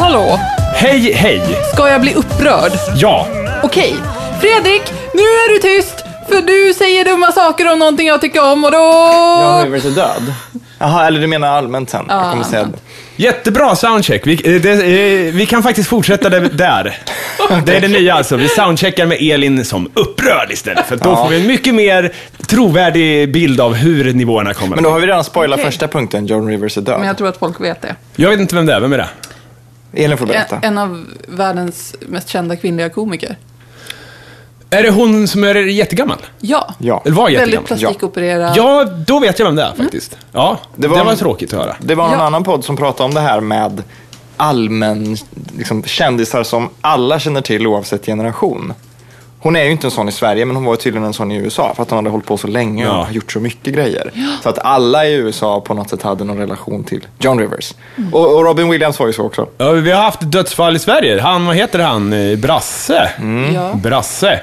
Hallå! Hej, hej! Ska jag bli upprörd? Ja, Okej. Fredrik, nu är du tyst! För du säger dumma saker om någonting jag tycker om och då... Jag är inte död. Jaha, eller du menar allmänt sen? Jag kommer säga det. jättebra soundcheck. Vi, eh, det, eh, vi kan faktiskt fortsätta där. där. Det är det nya alltså. Vi soundcheckar med Elin som upprörd istället. För då Ja. får vi en mycket mer trovärdig bild av hur nivåerna kommer. Men då har vi redan spoilat Okej. första punkten, John Rivers är död. Men jag tror att folk vet det. Jag vet inte vem det är, vem är det? Elin får En, berätta. en av världens mest kända kvinnliga komiker. Är det hon som är jättegammal? Ja. Ja. Det var Väldigt jättegammal. plastikopererad. Ja, då vet jag vem det är faktiskt. Ja, det Mm. Det var, var- tråkigt att höra. Det var någon Ja. annan podd som pratade om det här med allmän, liksom, kändisar som alla känner till oavsett generation. Hon är ju inte en sån i Sverige, men hon var tydligen en sån i USA för att hon hade hållit på så länge och Ja. gjort så mycket grejer. Så att alla i USA på något sätt hade någon relation till John Rivers. Mm. Och, och Robin Williams var ju så också. Ja, vi har haft dödsfall i Sverige. Han, vad heter han? Eh, Brasse. Mm. Mm. Ja. Brasse.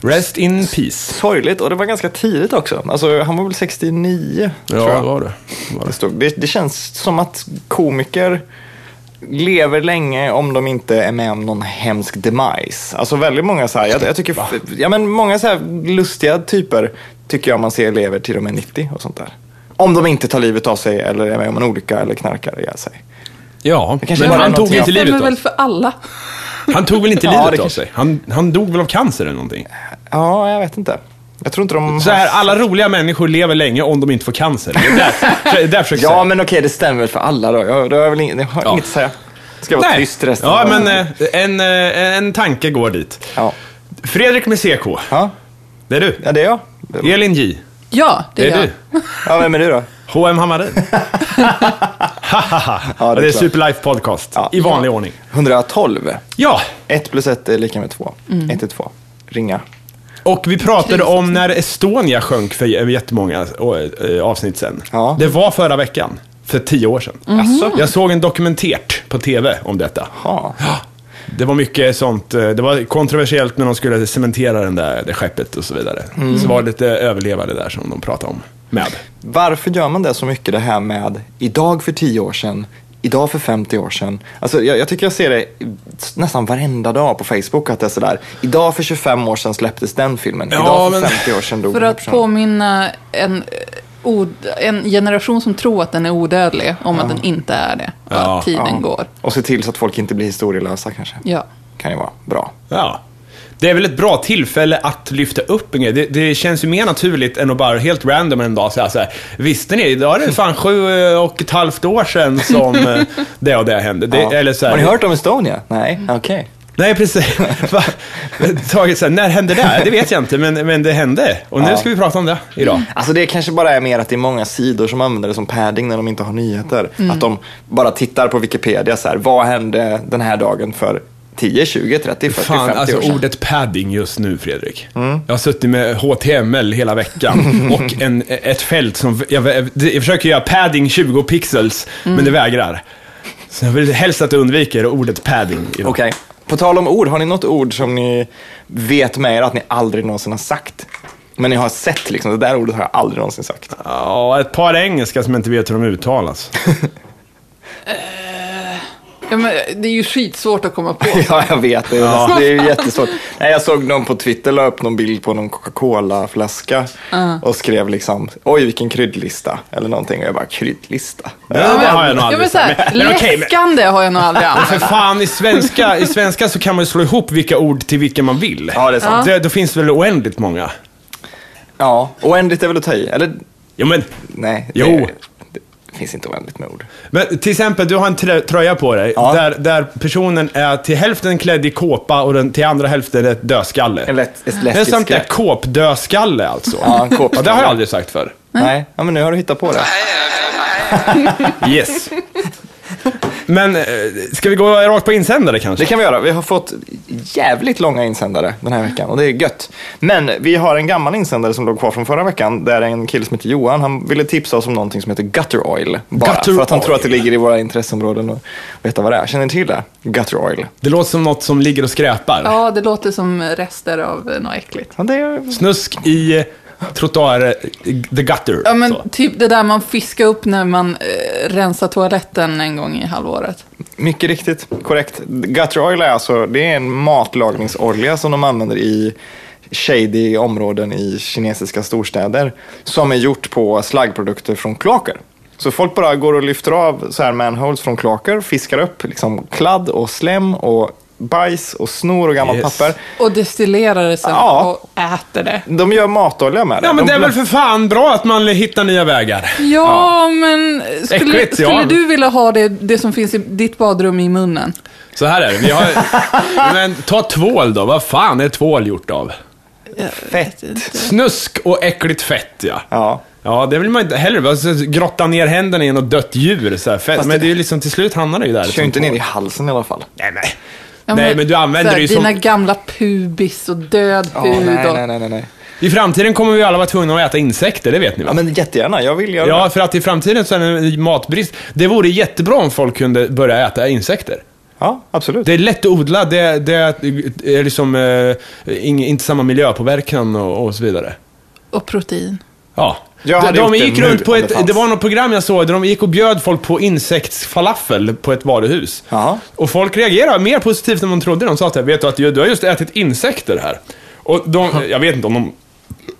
Rest in peace. Sorgligt, och det var ganska tidigt också. Alltså, han var väl 69, tror Ja, jag. var det. Var Det, det. stod, det, det känns som att komiker lever länge om de inte är med om någon hemsk demise. Alltså väldigt många så här, jag, jag tycker, ja men många så här lustiga typer tycker jag man ser lever till de är 90 och sånt där. Om de inte tar livet av sig eller är med om en olycka eller knarkar ihjäl sig. Ja, kanske men bara han något tog jag- inte Det livet stämmer av väl sig. för alla. Han tog väl inte Ja, livet det av kanske- sig? Han, han dog väl av cancer eller någonting? Ja, jag vet inte. Jag tror inte de... Så här, alla roliga människor lever länge om de inte får cancer. Det är där, det är där försöker jag Ja, säga. men okej, det stämmer väl för alla då. Jag, då har jag väl ing, jag har Ja. inget att säga. Ska jag vara tyst resten ja, av- men eh, en, eh, en tanke går dit. Ja. Fredrik med CK, Ja. det är du. ja, det är jag. Elin J, Ja, det, det är jag. du. Ja, vem är du då? H.M. Hammarin. Hahaha. Ja, det är det är klart. Superlife Podcast, Ja. i vanlig ordning. 112. Ja, 1 plus 1 är lika med 2. Mm. 112. Ringa. och vi pratade om när Estonia sjönk för j- jättemånga eh, avsnitt sen. Ja. Det var förra veckan, för tio år sedan. Jaså? Jag såg en dokumentärt på TV om detta. Jaha. Ja, Det var mycket sånt. eh, Det var kontroversiellt när de skulle cementera den där, det skeppet och så vidare. Så var det lite överlevare där som de pratade om. Med. Varför gör man det så mycket det här med idag för 10 år sedan, idag för 50 år sedan? Alltså, jag, jag tycker jag ser det nästan varenda dag på Facebook att det är sådär. Idag för 25 år sedan släpptes den filmen. Ja, idag för men- 50 år sedan dog För den här att personen." påminna en, eh, od- en generation som tror att den är odödlig om att den inte är det. Och Ja, att tiden Ja. går. Och se till så att folk inte blir historielösa kanske. Ja. Kan ju vara bra. Ja. Det är väl ett bra tillfälle att lyfta upp en grej. Det, det känns ju mer naturligt än att bara helt random en dag säga så här. Visste ni? Idag är det fan sju eh, och ett halvt år sedan som eh, det och det hände. Det, Ja. eller så här, Har ni hört om Estonia? Nej, Mm. okej. Nej, precis. Va? Taget så här, när hände det? Det vet jag inte, men, men det hände. Och nu Ja. ska vi prata om det idag. Alltså det kanske bara är mer att det är många sidor som använder det som padding när de inte har nyheter. Att de bara tittar på Wikipedia så här, vad hände den här dagen för 10, 20, 30, 40, Fan, 50 alltså år sedan? Mm. ordet padding just nu, Fredrik. Jag har suttit med HTML hela veckan och en, ett fält som... Jag, jag försöker göra padding 20 pixels, Mm. men det vägrar. Så jag vill helst att du undviker ordet padding. idag. Okej. På tal om ord, har ni något ord som ni vet med er att ni aldrig någonsin har sagt? Men ni har sett liksom, det där ordet har jag aldrig någonsin sagt. Ja, ett par engelska som jag inte vet hur de uttalas. Ja, men det är ju skitsvårt att komma på. Ja, jag vet. Det är, det är ju jättesvårt. Nej, jag såg någon på Twitter la upp någon bild på någon Coca-Cola-flaska och skrev liksom, oj vilken kryddlista. Eller någonting. Och jag bara, kryddlista? det har jag nog ja, aldrig men så här, sagt. Men- men okej, men- Läskande har jag nog aldrig För använt. fan, i svenska, i svenska så kan man ju slå ihop vilka ord till vilka man vill. Ja, det är sant. Det, då finns det väl oändligt många. Ja, oändligt är väl att ta i? Eller Jo, men, nej, Jo. Det, det finns inte oändligt med ord. men till exempel, du har en trö- tröja på dig Ja. där, där personen är till hälften klädd i kåpa och den, till andra hälften är ett dödskalle. En lätt, ett det är läskigt sånt där skratt. kåpdödskalle alltså. Ja, en kåpskalle. ja, det har jag aldrig sagt förr. Nej, ja, men nu har du hittat på det. Yes. Men eh, ska vi gå rakt på insändare Det kanske? kan vi göra. Vi har fått jävligt långa insändare den här veckan och det är gött. Men vi har en gammal insändare som låg kvar från förra veckan där en kille som heter Johan, han ville tipsa oss om någonting som heter gutter oil. Bara Gutter för att han tror att det oil. ligger i våra intresseområden och veta vad det är. Känner ni till det? Gutter oil. Det låter som något som ligger och skräpar. Ja, det låter som rester av eh, något äckligt. Ja, det är... Snusk i eh, trottoar, eh, the gutter. Ja, men så. typ det där man fiskar upp när man eh, rensar toaletten en gång i halvåret. Mycket riktigt, korrekt. Gutter oil är alltså det är en matlagningsolja som de använder i shady områden i kinesiska storstäder som är gjort på slaggprodukter från kloaker. Så folk bara går och lyfter av så här manholes från kloaker, fiskar upp liksom kladd och slem och bajs och snor och gammalt Yes. papper. Och destillerar det sen Ja. och äter det. De gör matolja med det. Ja, men de det är väl bland- för fan bra att man hittar nya vägar. Ja, men skulle, Äckligt, ja. skulle du vilja ha det, det som finns i ditt badrum i munnen? Så här är det. Vi har, men ta tvål då. Vad fan är tvål gjort av? Fett. Snusk och äckligt fett, ja. Ja. Ja, det vill man inte heller. Bara så- grotta ner händerna i något dött djur. Så här. Fett. Fast Men det- det är ju liksom, till slut hamnar det ju där. Kör inte ner i halsen i alla fall. Nej, nej. nej, men du använder så här, det ju Dina som... gamla pubis och död Ja, hud. nej, och- nej, nej, nej, nej. I framtiden kommer vi alla vara tvungna att äta insekter, det vet ni va? Ja, men jättegärna. Jag vill göra Ja, för att i framtiden så är det en matbrist. Det vore jättebra om folk kunde börja äta insekter. Ja, absolut. Det är lätt att odla, det, det är liksom eh, ing, inte samma miljöpåverkan och, och så vidare. Och protein. Ja. Jag De, hade de gjort det gick nu runt på om det ett, det, fanns. var något program jag såg där de gick och bjöd folk på insektsfalafel på ett varuhus. Jaha. Och folk reagerade mer positivt än man trodde. De sa att vet du att du har just ätit insekter här. Och de, jag vet inte om de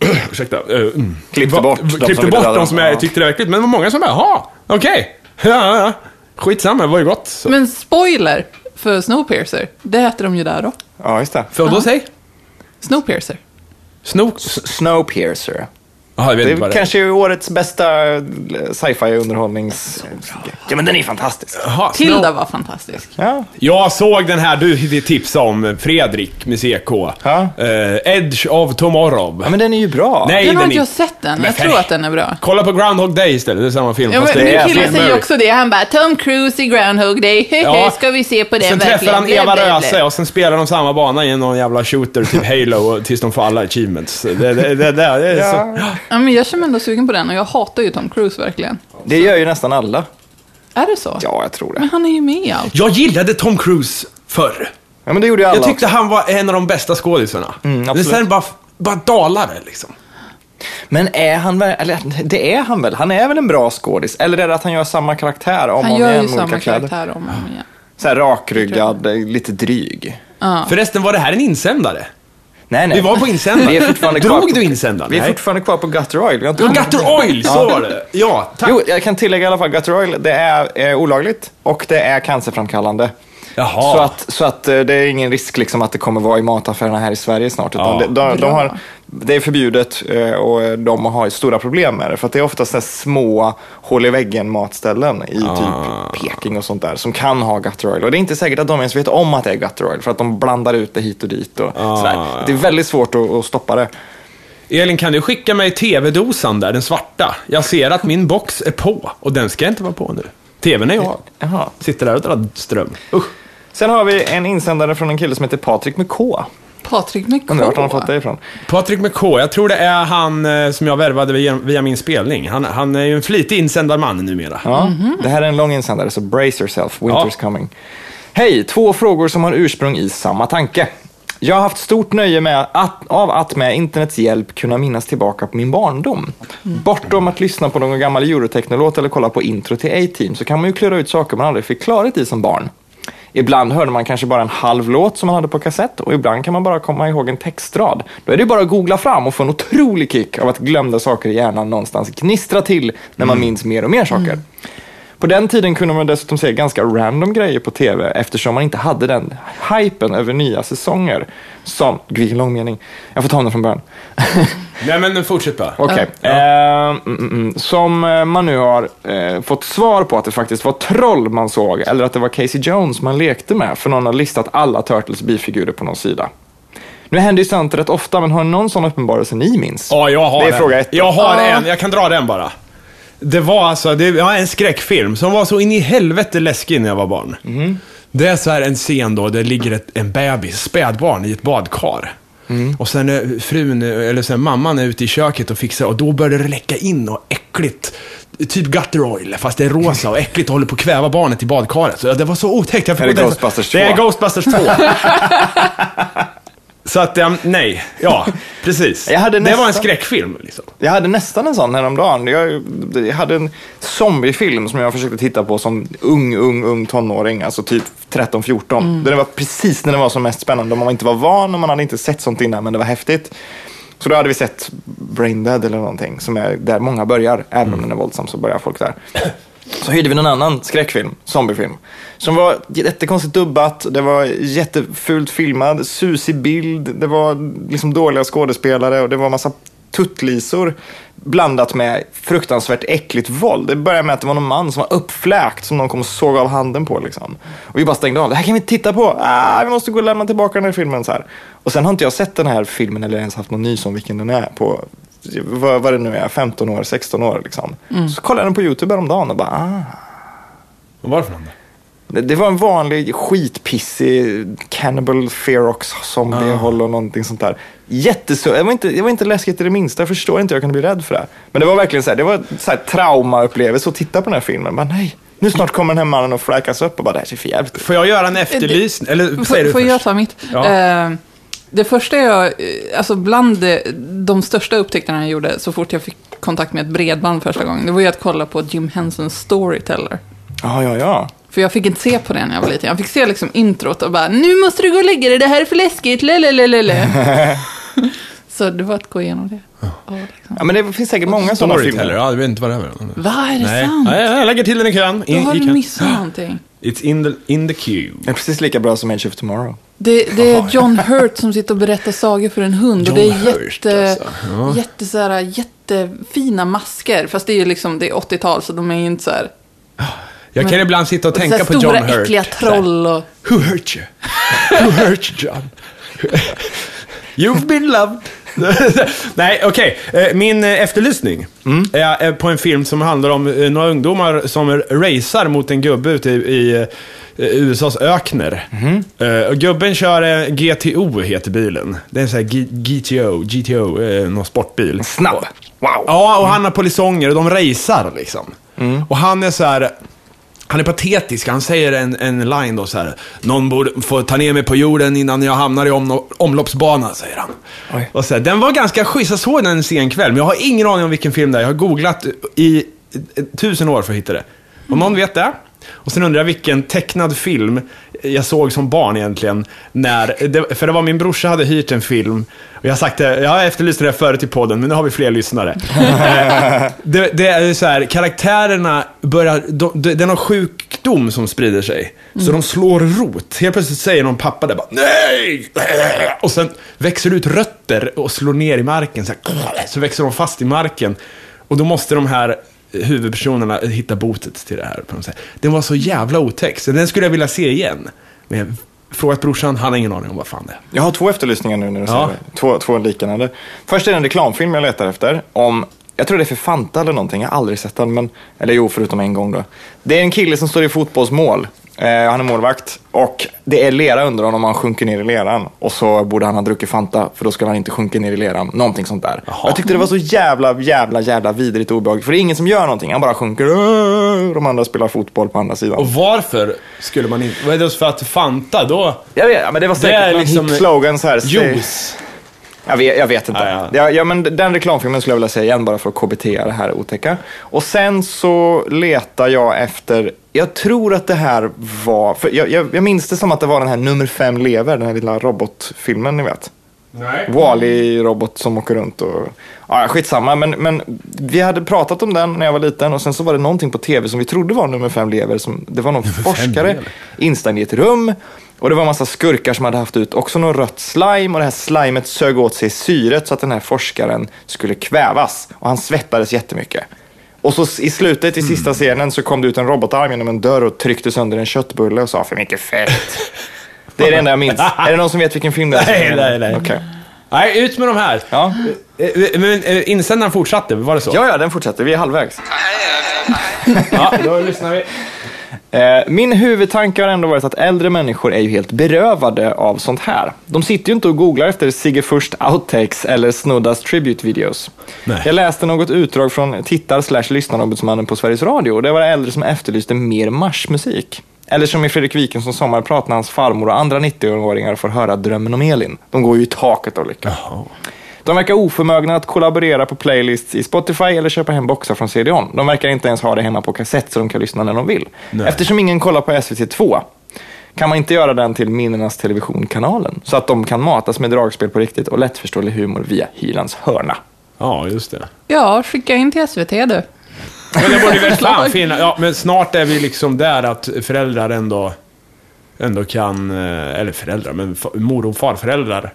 ursäkta, eh, mm. Klippte Va- bort de som klippte ville bort döda de dem. som jag Ja. tyckte det var äckligt. Men det var många som bara, jaha, okej. Ja, ja, ja. Skitsamma, det var ju gott. Typ. Så. Men spoiler för Snowpiercer. Det äter de ju där då. Ja, just det. Får då säg? Snowpiercer. Snok? Snowpiercer. Jaha, jag vet Det inte vad är det är. kanske årets bästa eh, sci-fi underhållnings... Ja, men den är fantastisk. Jaha, Snow- Tilda var fantastisk. Ja, Jag såg den här du tipsade om, Fredrik med CK. Ja. Eh, Edge of Tomorrow. ja men den är ju bra. Nej, Den har den inte är... jag sett än. Men Jag tror att den är bra. Kolla på Groundhog Day istället, det är samma film. Ja, fast men, det min är kille Bill säger Murray. också det. Han bara, Tom Cruise i Groundhog Day. Ja. Ja. Ska vi se på den Sen verkligen? träffar han Blä, Eva blä, blä. Röse och sen spelar de samma bana i någon jävla shooter, typ Halo, och- tills de får alla achievements. Det, det, det, det, det är så. Ja. Ja, men jag känner mig ändå sugen på den och jag hatar ju Tom Cruise verkligen. Det gör ju nästan alla. Är det så? Ja, jag tror Men det. han är ju med i allt. Jag gillade Tom Cruise förr. Ja, men det gjorde ju alla Jag tyckte han var en av de bästa skådisarna. Men absolut. sen bara, bara dalade liksom. också. Men är han väl... Eller det är han väl? Han är väl en bra skådis? Eller är det att han gör samma karaktär om Han och om gör igen ju med olika samma kläder? karaktär om och om igen. Så här rakryggad, eh, lite dryg. Förresten, var det här en insändare? Nej, nej. Vi var på insändaren. Vi är fortfarande kvar Drog på- du insändaren? Vi är Nej. fortfarande kvar på Gutter Oil. Vi har inte- Och Gutter Oil, så var det. Ja, tack. Jo, jag kan tillägga i alla fall, Gutter Oil, det är eh, olagligt och det är cancerframkallande. Jaha. Så, att, så att eh, det är ingen risk liksom att det kommer vara i mataffärerna här i Sverige snart. Utan Ja. det, de, de Bra. har, det är förbjudet eh, och de har stora problem med det. För att det är oftast så här små hål i väggen matställen i Ah. typ Peking och sånt där som kan ha Gutter Oil. Och det är inte säkert att de ens vet om att det är Gutter Oil för att de blandar ut det hit och dit. Och Ah, sådär. ja. Det är väldigt svårt att, att stoppa det. Elin, kan du skicka mig TV-dosan där, den svarta? Jag ser att min box är på och den ska inte vara på nu. TVn är jag. Jaha. Sitter där och drar ström. Usch. Sen har vi en insändare från en kille som heter Patrik med K. Patrik med K. Undrar vart han har fått det ifrån. Patrik med K, jag tror det är han eh, som jag värvade via, via min spelning. Han, han är ju en flitig insändarman numera. Ja, Det här är en lång insändare, så brace yourself, winter's Ja. coming. Hej, två frågor som har ursprung i samma tanke. Jag har haft stort nöje med att, av att med internets hjälp kunna minnas tillbaka på min barndom. Bortom att lyssna på någon gammal Eurotechnolåt eller kolla på intro till A-Team så kan man ju klura ut saker man aldrig fick klarhet i som barn. Ibland hörde man kanske bara en halv låt som man hade på kassett och ibland kan man bara komma ihåg en textrad. Då är det ju bara att googla fram och få en otrolig kick av att glömda saker i hjärnan någonstans gnistrar till när man minns mer och mer saker. På den tiden kunde man dessutom se ganska random grejer på tv eftersom man inte hade den hypen över nya säsonger. Som, gud vilken lång mening. Jag får ta om den från början. Nej, men fortsätt bara. Okej. Eh, mm, mm, mm. som eh, man nu har eh, fått svar på att det faktiskt var troll man såg eller att det var Casey Jones man lekte med för någon har listat alla Turtles bifigurer på någon sida. Nu händer ju sånt rätt ofta, men har ni någon sån uppenbarelse ni minns? Ja, jag har Det är en. fråga ett. Jag har Ja. en, jag kan dra den bara. Det var alltså, det var en skräckfilm som var så in i helvete läskig när jag var barn. Mhm. Det är så här en scen då, det ligger ett, en bebis, spädbarn, i ett badkar. Mm. Och sen är frun, eller sen mamman är ute i köket och fixar och då börjar det läcka in något äckligt. Typ gutter oil, fast det är rosa och äckligt och håller på att kväva barnet i badkaret. Så det var så otäckt. Jag fick Är det gå därifrån. Ghostbusters Det är 2? Ghostbusters 2. Så att, ehm, nej. Ja, precis. Jag hade det var en nästan- skräckfilm. Liksom. Jag hade nästan en sån häromdagen. Jag, jag hade en zombiefilm som jag försökte titta på som ung, ung, ung tonåring. Alltså typ 13-14. Det var precis när det var som mest spännande. Man inte var van och man hade inte sett sånt innan, men det var häftigt. Så då hade vi sett Braindead eller någonting, som är där många börjar. Även om den är våldsam så börjar folk där. Så hyrde vi någon annan skräckfilm, zombiefilm. Som var jättekonstigt dubbat, det var jättefult filmad, susig bild, det var liksom dåliga skådespelare och det var massa tuttlisor blandat med fruktansvärt äckligt våld. Det började med att det var någon man som var uppfläkt som någon kom och såg av handen på. Liksom. Och vi bara stängde av. Det här kan vi inte titta på. Ah, vi måste gå och lämna tillbaka den här filmen. Så här. Och sen har inte jag sett den här filmen eller ens haft någon nys om vilken den är på vad, vad det nu är, 15 år, 16 år. Liksom. Så kollade jag den på YouTube häromdagen och bara, ah. Vad var det för någon då? Det- Det var en vanlig skitpissig Cannibal Ferox zombie-håll och någonting sånt där. Jättesö... Det var, inte, det var inte läskigt i det minsta. Jag förstår inte hur jag kunde bli rädd för det. här. Men det var verkligen så här, det var så här traumaupplevelse att titta på den här filmen. Bara, nej, nu snart kommer den här mannen och fräkas upp och bara, det här ser för jävligt ut. Får jag göra en efterlysning? Eller säger du Får jag först? ta mitt? Ja. Eh, det första jag, eh, alltså bland de, de största upptäckterna jag gjorde så fort jag fick kontakt med ett bredband första gången, det var ju att kolla på Jim Hensons Storyteller. Ja, ja, ja. För jag fick inte se på det när jag var liten. Jag fick se liksom introt och bara nu måste du gå och lägga dig, det här är för läskigt, lelelelele. så det var att gå igenom det. Ja, liksom. Ja, men det finns säkert många sådana Storyteller? filmer. Ja, jag vet inte vad det är. Nej. Va, är det sant? Nej, jag lägger till den i kön. Då I- har i du kön. missat någonting. It's in the, in the queue. Det är precis lika bra som Age of Tomorrow. Det, det är John Hurt som sitter och berättar sagor för en hund. och det är John Hurt, jätte, alltså. Ja. jätte, så här, jättefina masker. Fast det är ju liksom, det är 80-tal så de är ju inte så här... Jag kan ibland sitta och så här tänka på John stora Hurt. äckliga troll och... Så här, Who hurt you? Who hurt you, John? You've been loved. Nej, okej. Eh, Min eh, efterlysning är eh, på en film som handlar om eh, några ungdomar som racear mot en gubbe ute i, i eh, USAs ökner. Eh, och gubben kör eh, GTO, heter bilen. Det är en sån här G- GTO, GTO, eh, någon sportbil. Snabb. Wow. Ja, och han har polisonger och de racear liksom. Och han är så här... Han är patetisk, han säger en, en line då så här. Någon borde få ta ner mig på jorden innan jag hamnar i omno- omloppsbanan, säger han. Oj. Och så här, den var ganska schysst, jag såg den en sen kväll, men jag har ingen aning om vilken film det är. Jag har googlat i eh, tusen år för att hitta det. Om någon vet det. Och sen undrar jag vilken tecknad film jag såg som barn egentligen. När, det, för det var min brorsa hade hyrt en film. Och jag har sagt det, jag har efterlyst det här förut i podden, men nu har vi fler lyssnare. Eh, det, det är ju så här, karaktärerna börjar, de, de, det är någon sjukdom som sprider sig. Så de slår rot. Helt plötsligt säger någon pappa där bara nej! Och sen växer det ut rötter och slår ner i marken. Så, här, så växer de fast i marken. Och då måste de här huvudpersonerna hitta botet till det här. På något sätt. Den var så jävla otäck, så den skulle jag vilja se igen. Men jag har frågat brorsan, han har ingen aning om vad fan det är. Jag har två efterlysningar nu när du Ja. säger det. Två, två liknande. Först är det en reklamfilm jag letar efter. Om, jag tror det är för Fanta eller någonting. Jag har aldrig sett den. Men, eller jo, förutom en gång då. Det är en kille som står i fotbollsmål. Eh, han är målvakt. Och det är lera under honom och han sjunker ner i leran. Och så borde han ha druckit Fanta för då skulle han inte sjunka ner i leran. Någonting sånt där. Jag tyckte det var så jävla, jävla, jävla vidrigt och obehagligt. För det är ingen som gör någonting. Han bara sjunker. "Åh", De andra spelar fotboll på andra sidan. Och varför skulle man inte... Vad är det för att Fanta då? Jag vet, men det var säkert är någon liksom- hit slogan så här. Juice. Jag vet, jag vet inte. Ja, Ja, ja. ja. men den reklamfilmen skulle jag vilja säga igen bara för att KBT det här otäcka. Och sen så letar jag efter, jag tror att det här var, för jag, jag, jag minns det som att det var den här nummer fem lever, den här lilla robotfilmen ni vet. Nej. Wall-E-robot som åker runt och... Ja, skitsamma, men, men vi hade pratat om den när jag var liten och sen så var det någonting på tv som vi trodde var nummer fem lever. Som, det var någon forskare lever? instängd i ett rum och det var en massa skurkar som hade haft ut också något rött slime och det här slimet sög åt sig syret så att den här forskaren skulle kvävas och han svettades jättemycket. Och så s- i slutet, i Mm. sista scenen, så kom det ut en robotarm genom en dörr och tryckte sönder en köttbulle och sa för mycket fett. Det är det enda jag minns. Är det någon som vet vilken film det är? Nej, nej, nej. Okej. Nej, ut med de här. Ja. Eh, eh, Men eh, insändaren fortsatte, var det så? ja, ja, den fortsätter. Vi är halvvägs. ja då lyssnar vi. Eh, Min huvudtanke har ändå varit att äldre människor är ju helt berövade av sånt här. De sitter ju inte och googlar efter Sigge Först outtakes eller Snoddas tribute-videos. Nej. Jag läste något utdrag från tittar slash lyssnarombudsmannen på Sveriges Radio och det var äldre som efterlyste mer marschmusik. Eller som i Fredrik Wikingsson sommarprat när hans farmor och andra 90-åringar får höra drömmen om Elin. De går ju i taket av lycka. De verkar oförmögna att kollaborera på playlists i Spotify eller köpa hem boxar från CD-ON. De verkar inte ens ha det hemma på kassett så de kan lyssna när de vill. Nej. Eftersom ingen kollar på SVT2 kan man inte göra den till minnenas televisionkanalen så att de kan matas med dragspel på riktigt och lättförståelig humor via Hylands hörna. Ja, just det. Ja, skicka in till SVT du. Men det borde väl fan finna, ja, men snart är vi liksom där att föräldrar ändå, ändå kan, eh, eller föräldrar, men fa- mor och farföräldrar.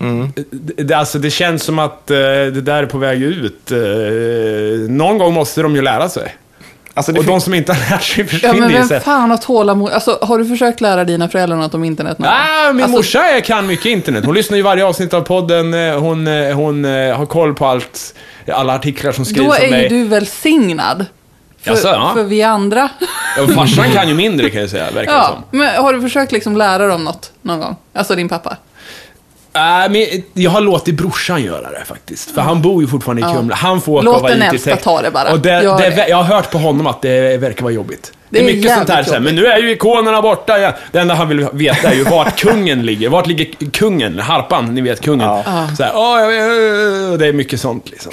Mm. Det, det- alltså, det känns som att eh, det där är på väg ut. Eh, någon gång måste de ju lära sig. Alltså, det Och de finns- som inte har lärt sig Ja, försvinner men ju vem sen. fan har tålamod? Alltså, har du försökt lära dina föräldrar något om internet någon gång? Ah, min Alltså, morsa är, kan mycket internet. Hon lyssnar ju varje avsnitt av podden. eh, Hon, eh, hon eh, har koll på allt, alla artiklar som skrivs Då om är ju mig. du välsignad. För, Jaså, ja. för vi andra. Ja, farsan kan ju mindre kan jag säga, verkar det som. ja, men har du försökt liksom lära dem något någon gång? Alltså din pappa? Äh, men jag har låtit brorsan göra det faktiskt. För han bor ju fortfarande i Kumla. Han får åka Låt och vara den IT-tech. äldsta ta det bara. Och det, Gör det, det. Jag har hört på honom att det verkar vara jobbigt. Det Det är, är mycket sånt här jävligt sen. Men nu är ju ikonerna borta. Ja. Det enda han vill veta är ju vart kungen ligger. Vart ligger kungen? Harpan, ni vet kungen. Ja. Så här, "Åh, jag vet", och det är mycket sånt liksom.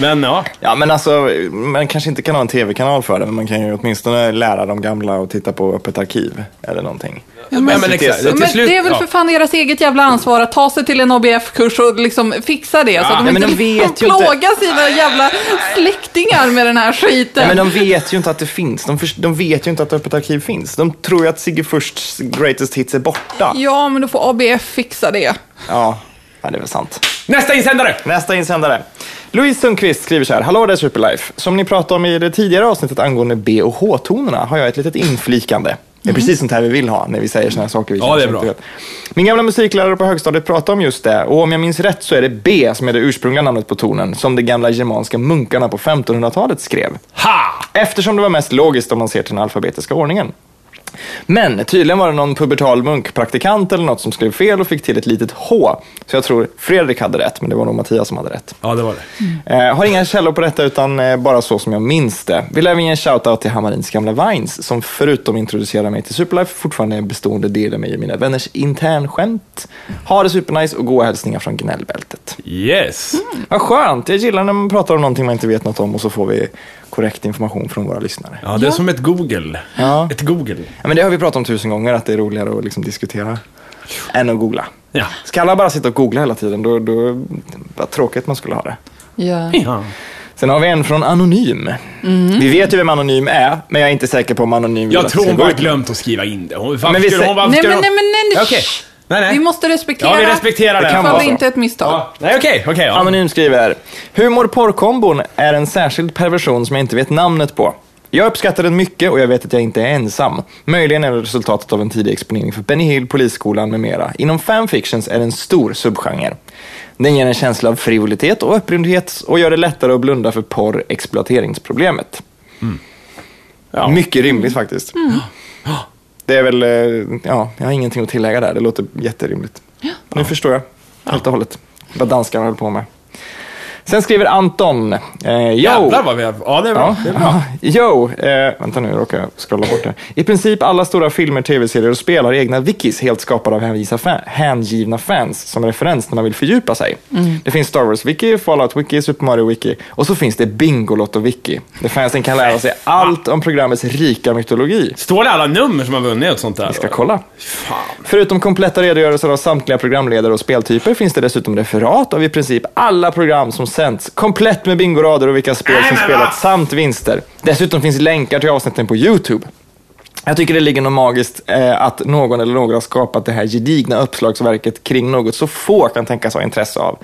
Men ja. Ja, men alltså, man kanske inte kan ha en tv-kanal för det, men man kan ju åtminstone lära de gamla att titta på Öppet arkiv eller någonting. men, till exakt. slut- Till men slut- det är väl ja. för fan deras eget jävla ansvar att ta sig till en ABF-kurs och liksom fixa det. Så att de Nej, men inte de vet liksom ju inte. plågar sina jävla släktingar med den här skiten. Nej, men de vet ju inte att det finns. De, förs- de vet ju inte att Öppet arkiv finns. De tror ju att Sigge Fursts greatest hits är borta. Ja, men då får ABF fixa det. Ja, ja det är väl sant. Nästa insändare! Nästa insändare. Louise Sundqvist skriver så här. Hallå där Superlife. Som ni pratade om i det tidigare avsnittet angående B och H-tonerna har jag ett litet inflikande. Det är precis sånt här vi vill ha när vi säger såna här saker vi Mm. Ja, det är kanske bra. inte vet. Min gamla musiklärare på högstadiet pratade om just det. Och om jag minns rätt så är det B som är det ursprungliga namnet på tonen. Som de gamla germanska munkarna på 1500-talet skrev. Ha! Eftersom det var mest logiskt om man ser till den alfabetiska ordningen. Men tydligen var det någon pubertal munkpraktikant eller något som skrev fel och fick till ett litet H. Så jag tror Fredrik hade rätt, men det var nog Mattias som hade rätt. Ja, det var det. Mm. Eh, har inga källor på detta utan eh, bara så som jag minns det. Vill även ge en shoutout till Hammarins gamla Vines som förutom introducerar mig till Superlife fortfarande är en bestående del av mig och mina vänners internskämt. Ha det supernice och goa hälsningar från gnällbältet. Yes. Mm. Vad skönt, jag gillar när man pratar om någonting man inte vet något om och så får vi korrekt information från våra lyssnare. Ja, det är som ett Google. Ja. Ett Google. Ja, men det har vi pratat om tusen gånger, att det är roligare att liksom diskutera än att googla. Ja. Ska alla bara sitta och googla hela tiden, då, då vad tråkigt man skulle ha det. Ja. ja. Sen har vi en från Anonym. Vi vet ju vem Anonym är, men jag är inte säker på om Anonym vill Mm. Jag att tror det hon ska bara gå ut. glömt att skriva in det. Hon, varför men vi skulle sä- hon, varför Nej, men, skulle nej, men hon... nej, nej. Okej. Nej, nej. Vi måste respektera. Ja, vi respekterar det. kan Ifall vara det så. inte är ett misstag. Ja. Nej, okej, okej. ja. Anonym skriver, humor-porrkombon är en särskild perversion som jag inte vet namnet på. Jag uppskattar den mycket och jag vet att jag inte är ensam. Möjligen är det resultatet av en tidig exponering för Benny Hill, Polisskolan med mera. Inom fanfictions är det en stor subgenre. Den ger en känsla av frivolitet och upprymdhet och gör det lättare att blunda för porr-exploateringsproblemet. Mm. Ja. Mycket rimligt faktiskt. Det är väl, eh, ja, jag har ingenting att tillägga där. Det låter jätterimligt. Nu förstår jag helt och hållet vad danskarna höll på med. Sen skriver Anton. Eh, yo. Jävlar vad vi har... Ja, det är bra. Ja, ja. Yo, eh, vänta nu, jag råkar jag scrolla bort här. I princip alla stora filmer, tv-serier och spel har egna wikis helt skapade av hänvisa fan, hängivna fans som referens när man vill fördjupa sig. Mm. Det finns Star Wars-wiki, Fallout-wiki, Super Mario-wiki och så finns det Bingolotto-wiki där fansen kan lära sig allt om programmets rika mytologi. Står det alla nummer som har vunnit och sånt där? Vi ska kolla. Fan. Förutom kompletta redogörelser av samtliga programledare och speltyper finns det dessutom referat av i princip alla program som sänts, komplett med bingorader och vilka spel Nej, som men va? spelats samt vinster. Dessutom finns länkar till avsnitten på YouTube. Jag tycker det ligger något magiskt eh, att någon eller några har skapat det här gedigna uppslagsverket kring något så få kan tänkas ha intresse av.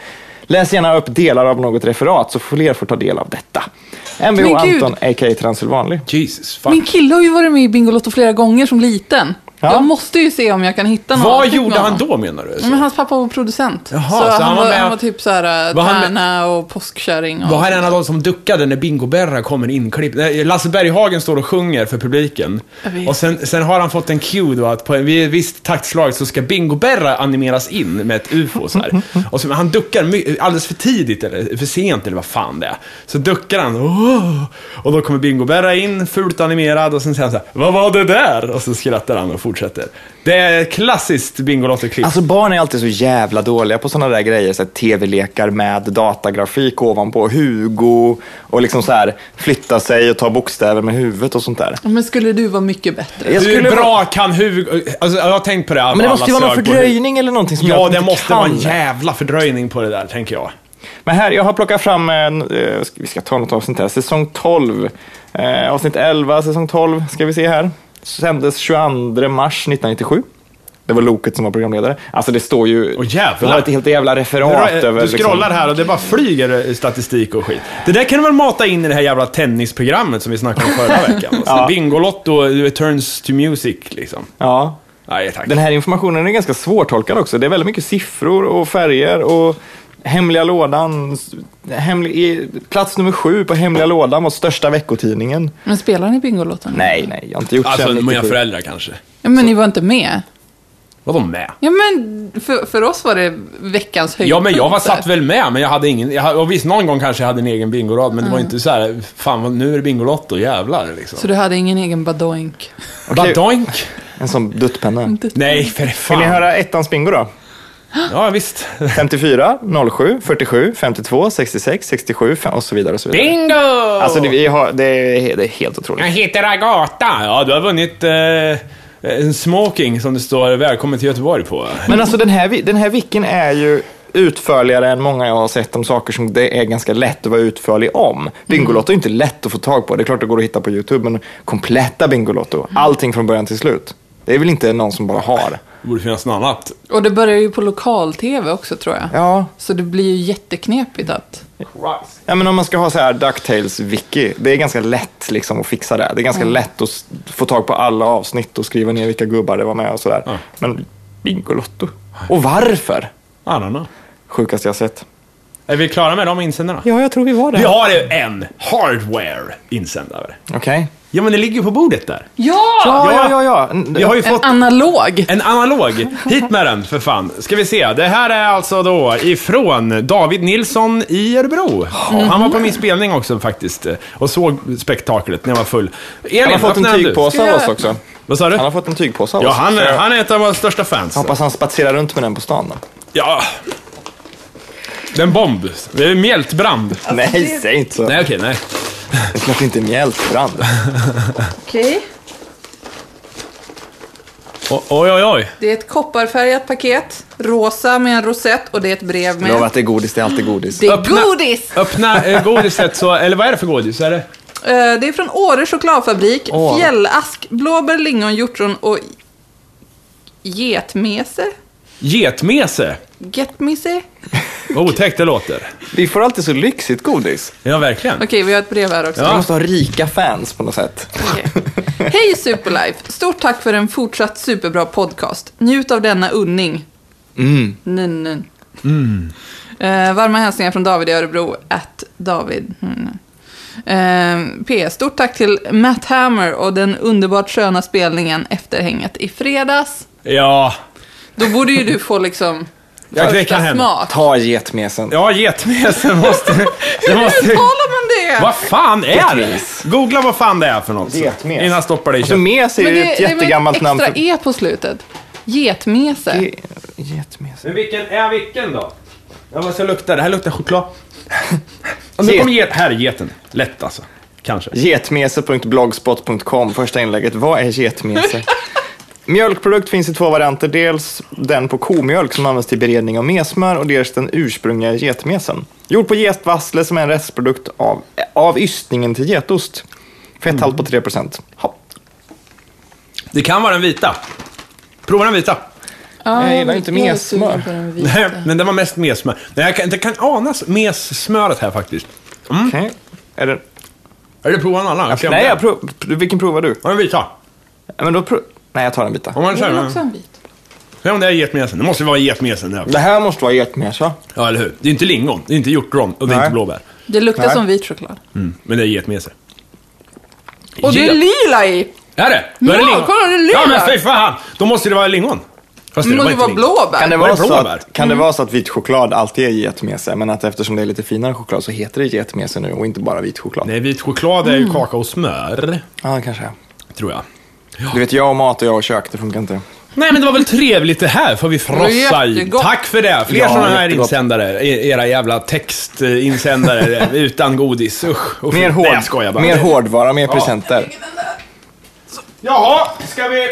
Läs gärna upp delar av något referat så fler får ta del av detta. Mvh Men gud. Anton, a.k.a. Transylvanlig. Jesus, fuck. Min kille har ju varit med i Bingolotto flera gånger som liten. Ja. Jag måste ju se om jag kan hitta någon. Mm. Vad avsnitt med gjorde han honom. då menar du? Men hans pappa var producent. Jaha, så, han, var, med- han var typ så här Var han med- tärna och påskkärring. Och Var han en av de som duckade när Bingo Berra kommer inklippt? Nej, Lasse Berghagen står och sjunger för publiken. Jag vet. Och sen, sen har han fått en cue då att på en vid ett visst taktslag så ska Bingo Berra animeras in med ett ufo så här. Och så, men han duckar my- alldeles för tidigt eller för sent eller vad fan det är. Så duckar han "Åh!" och då kommer Bingo Berra in, fult animerad och sen säger han så här, Vad var det där? Och så skrattar han och fortsätter. Det är ett klassiskt Bingolotto-klipp. Alltså barn är alltid så jävla dåliga på sådana där grejer. Så här, TV-lekar med datagrafik ovanpå. Hugo och liksom så här flytta sig och ta bokstäver med huvudet och sånt där. Men skulle du vara mycket bättre? Jag Hur skulle bra kan Hugo... Alltså, jag har tänkt på det. Men det måste ju vara någon fördröjning eller någonting som gör Ja, att det man inte måste kan. vara en jävla fördröjning på det där, tänker jag. Men här, jag har plockat fram, en, eh, ska- vi ska ta något avsnitt här, säsong 12. Eh, avsnitt 11, säsong 12, ska vi se här. Sändes 22 mars 1997. Det var Loket som var programledare. Alltså det står ju... Åh, jävlar. Jag har ett helt jävla referat Du, över... liksom- du scrollar här och det bara flyger statistik och skit. Det där kan du väl mata in i det här jävla tennisprogrammet som vi snackade om förra veckan? Alltså, Ja. Bingolotto returns to music, liksom. Ja. Nej, tack. Den här informationen är ganska svårtolkad också. Det är väldigt mycket siffror och färger och hemliga lådan. s- Hemlig, i- plats nummer sju på hemliga lådan var största veckotidningen. Men spelar ni Bingolotto? Nej, nej, jag har inte gjort Alltså, sen mina 97. föräldrar kanske. Ja, men ni var inte med? Var de med? Ja, men för, för oss var det veckans höjdpunkt. Ja, men jag var där. satt väl med, men jag hade ingen... Jag, hade- och visst, någon gång kanske jag hade en egen bingorad, men det var Mm. inte så här, fan, vad- nu är det Bingolotto, jävlar, liksom. Så du hade ingen egen badoink? Badoink! En sån duttpenna. Nej, för Vill ni fan. höra ettans bingo då? Ja, visst. 54, 07, 47, 52, 66, 67 fem- och så vidare. Och så vidare. Bingo! Alltså det, vi har, det, är, det är helt Jag otroligt. heter Agata. Ja, du har vunnit eh, en smoking som det står välkommen till Göteborg på. Men alltså den här, vi- den här wicken är ju utförligare än många jag har sett om saker som det är ganska lätt att vara utförlig om. Bingolotto är inte lätt att få tag på. Det är klart det går att hitta på YouTube, men kompletta Bingolotto, allting från början till slut. Det är väl inte någon som bara har. Det borde finnas något annat. Och det börjar ju på lokal-tv också, tror jag. Ja, Så det blir ju jätteknepigt att... Ja, men om man ska ha så här ducktails wiki det är ganska lätt liksom att fixa det. Det är ganska lätt att s- få tag på alla avsnitt och skriva ner vilka gubbar det var med och sådär. Ja. Men Bingolotto. Och varför? I don't know. Sjukaste jag sett. Är vi klara med de insändarna? Ja, jag tror vi var där. Vi har ju en hardware-insändare. Okej. Ja, men det ligger ju på bordet där. Ja! Ja, ja, ja. ja. Vi har ju En fått analog. en analog. Hit med den, för fan. Ska vi se. Det här är alltså då ifrån David Nilsson i Örebro. Han var på min spelning också faktiskt och såg spektaklet när jag var full. Elin, Han har fått öppna en den du. tygpåse av oss också. Vad sa du? Han har fått en tygpåse av Ja, oss. han, Så jag är- han är ett av våra största fans. Hoppas han spatserar runt med den på stan. Då. Alltså, Ja. Det är en bomb. Det är mjältbrand. nej, säg inte så. Nej, okej, nej. Det är klart inte mjältbrand. Okej. O- oj, oj, oj. Det är ett kopparfärgat paket. Rosa med en rosett och det är ett brev med... Lova att det är godis, det är alltid godis. Det är Öppna- godis! Öppna eh, godiset så, eller vad är det för godis? Är det? Eh, Det är från Åre chokladfabrik. Åh. Fjällask, blåbär, lingon, hjortron och getmese. Getmese. Getmese? Vad otäckt det låter. Vi får alltid så lyxigt godis. Ja, verkligen. Okej, vi har ett brev här också. Vi Ja. måste ha rika fans på något sätt. Okej. Hej Superlife! Stort tack för en fortsatt superbra podcast. Njut av denna unning. Mm. Nun, nun. Eh, varma hälsningar från David i Örebro, at David. Mm. Eh, PS. Stort tack till Matt Hammer och den underbart sköna spelningen Efterhänget i fredags. Ja, Då borde ju du få liksom Ja, det första kan hända. smak. Ta getmesen. ja getmese måste... Det Hur måste... talar man det? Vad fan är Getmes. det? Googla vad fan det är för något. så- Getmes. Innan jag stoppar dig i Alltså köttet. mes är Men ju ett det är väl jättegammalt namn. extra e på slutet. Getmese. Getmes. Men vilken är vilken då? Ja, vad ska lukta? Det här luktar choklad. Och nu kommer get... Här är geten. Lätt alltså. Kanske. Getmese.blogspot.com, första inlägget. Vad är getmese? Mjölkprodukt finns i två varianter. Dels den på komjölk som används till beredning av messmör och dels den ursprungliga getmesen. Gjord på getvassle som är en restprodukt av, av ystningen till getost. Fetthalt på 3 procent. Det kan vara den vita. Prova den vita. Ja, Jag gillar inte jag är mes sugen smör. på den vita. Nej, men det var mest messmör. Nej, jag kan, det kan anas messmöret här faktiskt. Okej. Är det... Eller prova en annan. se om Nej, det- jag prov... vilken provar du? Ja, den vita. Ja, Men då pro... Nej, jag tar en bita. Om man Det är väl också känner... en bit. Ja, men det är getmesen. Det måste vara getmesen. Ja. Det här måste vara getmesa. ja, eller hur? Det är inte lingon, det är inte hjortron och det är Nej. inte blåbär. Det luktar Nej. som vit choklad. Mm. Men det är getmesen. Och det är Get- lila i! Är det? Då är Ja, lingon. kolla, det är lila. Ja, men fy fan! Då måste det vara lingon. Fast Det måste inte vara lingon. blåbär. Kan det Vad är vara så blåbär? att, kan det vara så att vit choklad alltid är getmese, men att eftersom det är lite finare choklad så heter det getmese nu och inte bara vit choklad? Nej, vit choklad är ju Mm. kakaosmör, Ja, kanske. tror jag. Du vet, jag och mat och jag och kök, det funkar inte. Nej, men det var väl trevligt det här, får vi frossa i. jättegott. Tack för det! Fler Ja, sådana här jättegott. insändare. E- Era jävla textinsändare utan godis. Usch, usch. Mer, hård, Nej, jag skojar bara. mer hårdvara, mer presenter. Jaha, ska vi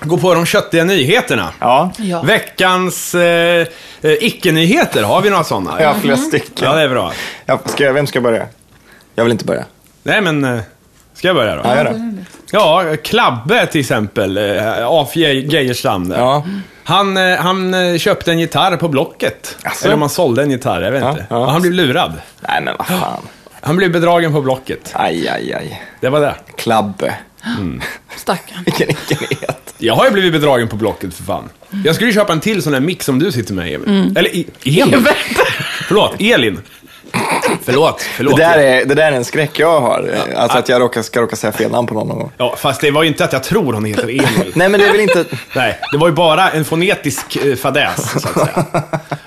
gå på de köttiga nyheterna? Ja, Ja. Veckans eh, eh, icke-nyheter, har vi några sådana? jag har flera stycken. Ja, det är bra. Ja, ska jag, vem ska börja? Jag vill inte börja. Nej, men eh, ska jag börja då? Ja, Ja, gör det är det. det. Ja, Klabbe till exempel, eh, A.F. Ge- Geijerstam. där. Ja. Han, eh, han eh, köpte en gitarr på Blocket. Asså? Eller om han sålde en gitarr, jag vet Ja, inte. ja. Och Han blev lurad. Nej, men vad fan. Han blev bedragen på Blocket. Aj, aj, aj. Det var det. Klabbe. Stackarn. Vilken ickenhet. Jag har ju blivit bedragen på Blocket för fan. Jag skulle ju köpa en till sån där mick som du sitter med, Emil. Mm. Eller I- Elin. Förlåt, Elin. Förlåt, Det förlåt. där, är, det där är en skräck jag har. Alltså att jag råkar, ska råka säga fel namn på någon någon gång. Ja, fast det var ju inte att jag tror hon heter Emil. Nej, men det är väl inte... Nej, det var ju bara en fonetisk eh, fadäs, så att säga.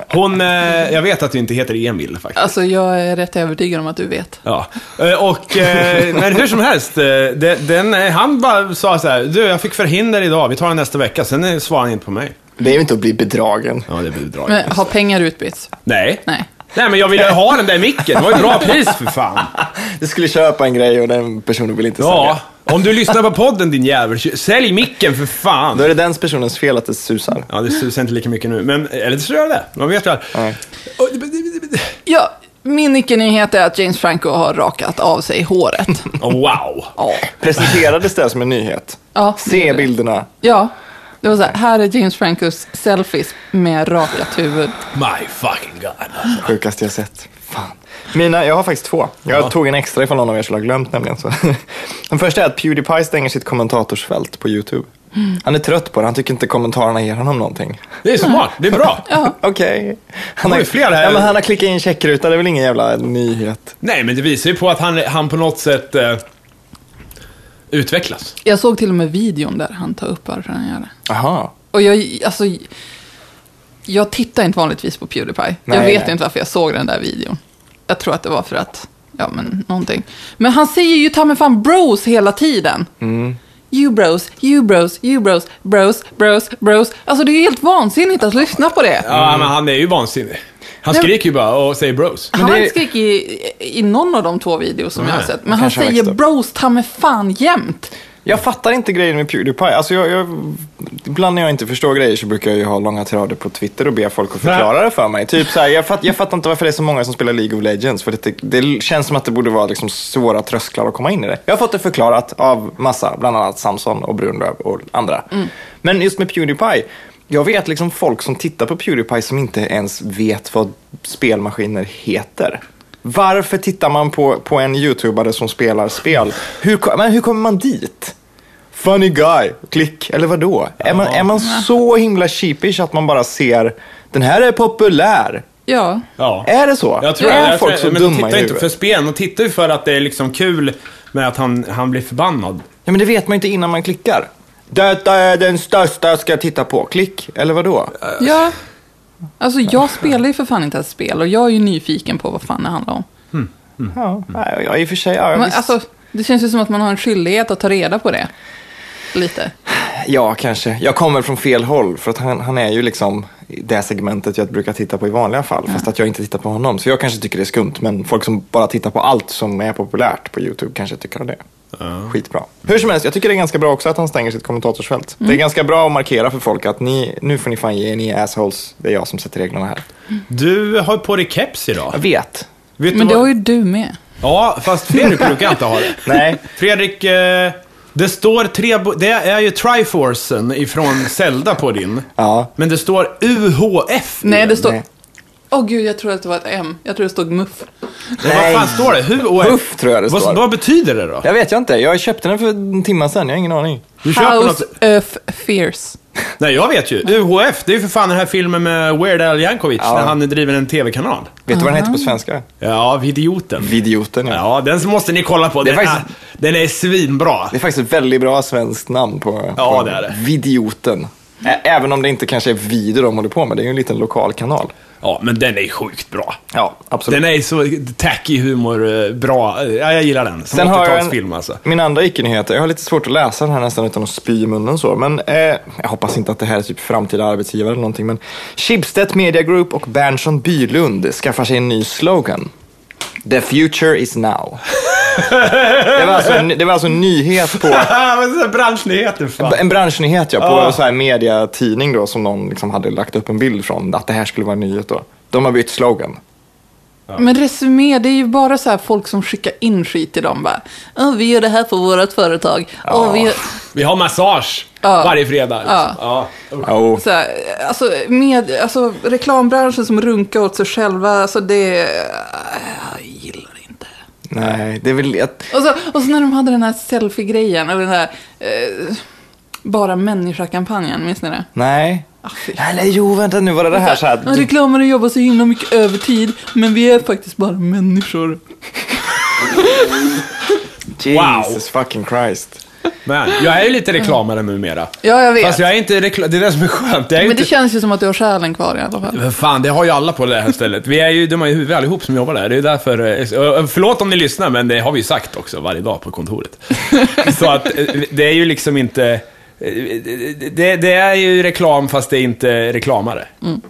Hon, eh, jag vet att du inte heter Emil faktiskt. Alltså, jag är rätt övertygad om att du vet. Ja, Eh, och, eh, men hur som helst, eh, de- den, eh, han bara sa så här, du jag fick förhinder idag, vi tar den nästa vecka, sen eh, svarar han inte på mig. Det är ju inte att bli bedragen. Ja, det blir bra. Men har pengar utbytts? Nej. Nej. Nej, men jag ville ha den där micken, det var ju bra pris för fan. Du skulle köpa en grej och den personen vill inte Ja, sälja. om du lyssnar på podden din jävel, kö- sälj micken för fan. Då är det den personens fel att det susar. Ja, det susar inte lika mycket nu, men eller så gör det. Man vet ju aldrig. Nej. Och- b- b- b- b- Ja, min icke-nyhet är att James Franco har rakat av sig håret. oh, Wow. Ja. Presenterades det som en nyhet? Ja. Se bilderna. Ja, det var så här, här är James Francos selfies med rakat huvud. My fucking god. Sjukaste jag sett. Fan. Mina, jag har faktiskt två. Jag Ja. tog en extra ifall någon av er skulle ha glömt nämligen. Så. Den första är att Pewdiepie stänger sitt kommentatorsfält på YouTube. Han är trött på det, han tycker inte kommentarerna ger honom någonting. Det är smart, det är bra. Okej. Han, Oj, har- fler här. Ja, men han har klickat in checkruta, det är väl ingen jävla nyhet. Nej, men det visar ju på att han, han på något sätt eh, utvecklas. Jag såg till och med videon där han tar upp varför han gör det. Aha. Och jag, alltså, jag tittar inte vanligtvis på Pewdiepie. jag Nej, vet nej. inte varför jag såg den där videon. Jag tror att det var för att, ja men någonting. Men han säger ju ta mig fan bros hela tiden. Mm. You bros, you bros, you bros, bros, bros, bros. Alltså det är ju helt vansinnigt att lyssna på det. Ja, men han är ju vansinnig. Han Mm. Nej, men- skriker ju bara och säger bros. Han Men har det- inte skrikit i, i någon av de två videos som jag har Nej, sett. Men han kanske har växt säger upp. bros ta mig fan jämt. Jag fattar inte grejen med Pewdiepie. Alltså jag, jag, ibland när jag inte förstår grejer så brukar jag ju ha långa tirader på Twitter och be folk att förklara det för mig. Typ så här, jag, fatt, jag fattar inte varför det är så många som spelar League of Legends. För det, det känns som att det borde vara liksom svåra trösklar att komma in i det. Jag har fått det förklarat av massa, bland annat Samson och Brunlöv och andra. Men just med Pewdiepie. Jag vet liksom folk som tittar på Pewdiepie som inte ens vet vad spelmaskiner heter. Varför tittar man på, på en youtubare som spelar spel? Hur, ko- men hur kommer man dit? Funny guy, klick, eller vadå? Är, man, är man så himla sheepish att man bara ser den här är populär? Ja, Ja. Är det så? Jag tror är jag, folk jag, så men de dumma i tittar inte huvudet? för spelen, de tittar ju för att det är liksom kul med att han, han blir förbannad. Ja, men det vet man ju inte innan man klickar. Detta är den största ska jag titta på, klick, eller vadå? ja. Alltså jag spelar ju för fan inte ens spel och jag är ju nyfiken på vad fan det handlar om. Ja, nej, ja, i och för sig, ja, Men, visst. alltså, det känns ju som att man har en skyldighet att ta reda på det. Lite. Ja, kanske. Jag kommer från fel håll, för att han, han är ju liksom det segmentet jag brukar titta på i vanliga fall, fast att jag inte tittar på honom. Så jag kanske tycker det är skumt, men folk som bara tittar på allt som är populärt på YouTube kanske tycker det. Skitbra. Hur som helst, jag tycker det är ganska bra också att han stänger sitt kommentatorsfält. Mm. Det är ganska bra att markera för folk att ni, nu får ni fan ge er, ni är assholes. Det är jag som sätter reglerna här. Du har på dig keps idag. Jag vet. Vet du Men det vad- har ju du med. Ja, fast Fredrik brukar inte ha det. Nej. Fredrik, eh, det står tre... bo- Det är ju Triforcen ifrån Zelda på din. Ja. Men det står UHF. i Nej, det den. står Nej. Åh gud, jag tror att det var ett M. Jag tror det stod muff. Vad fan står det? Hur och Huff, tror jag det vad, står. vad betyder det då? Jag vet jag inte. Jag köpte den för en timme sedan. Jag har ingen aning. Du köper House något... of Fierce. Nej, jag vet ju. UHF, det är ju för fan den här filmen med Weird Al Yankovic Ja. när han driver en TV-kanal. Vet du vad den heter på svenska? Ja, Idioten. Vidioten, ja. Ja, den måste ni kolla på. Det Den, är är, faktiskt- den är svinbra. Det är faktiskt ett väldigt bra svenskt namn på, Ja, på det är det. Vidioten. Ä- Även om det inte kanske är video de håller på med. Det är ju en liten lokal kanal. Ja, men den är sjukt bra. Ja, absolut. Den är så tacky humor, eh, bra. Ja, jag gillar den. Som Sen har jag 80-talsfilm en- alltså. Min andra icke-nyhet, jag har lite svårt att läsa den här nästan utan att spy i munnen så. Men eh, jag hoppas inte att det här är typ framtida arbetsgivare eller någonting. Men Schibsted Media Group och Berntsson Bylund skaffar sig en ny slogan. The future is now. det, var alltså en, det var alltså en nyhet på men branschnyheter fan. en branschnyhet ja, på Ja. så här mediatidning då som någon liksom hade lagt upp en bild från att det här skulle vara en nyhet då. De har bytt slogan. Men resumé, det är ju bara så här folk som skickar in skit till dem bara. "Åh, vi gör det här på vårt företag. Åh, vi gör... Vi har massage Ja. varje fredag. liksom. Ja. Ja. Oh. Så här, alltså, med, alltså, reklambranschen som runkar åt sig själva, alltså det... Jag gillar inte. Nej, det är väl... Jag, Och så, och så när de hade den här selfie-grejen, eller den här eh, bara människa-kampanjen, minns ni det? nej. Ah, fy. Eller jo, vänta nu var det det här så här. Ja, Reklamare jobbar så himla mycket övertid, men vi är faktiskt bara människor. Jesus fucking Christ. Men jag är ju lite reklamare numera. Ja, jag vet. Fast jag är inte reklam... Det är det som är skönt. Jag är men inte... det känns ju som att du har själen kvar i alla fall. Men Fan, det har ju alla på det här stället. Vi är ju dumma i huvudet allihop som jobbar där. Det är därför... eh, eh, Förlåt om ni lyssnar, men det har vi ju sagt också varje dag på kontoret. Så att eh, det är ju liksom inte... eh, Det, det är ju reklam, fast det är inte reklamare. Mm.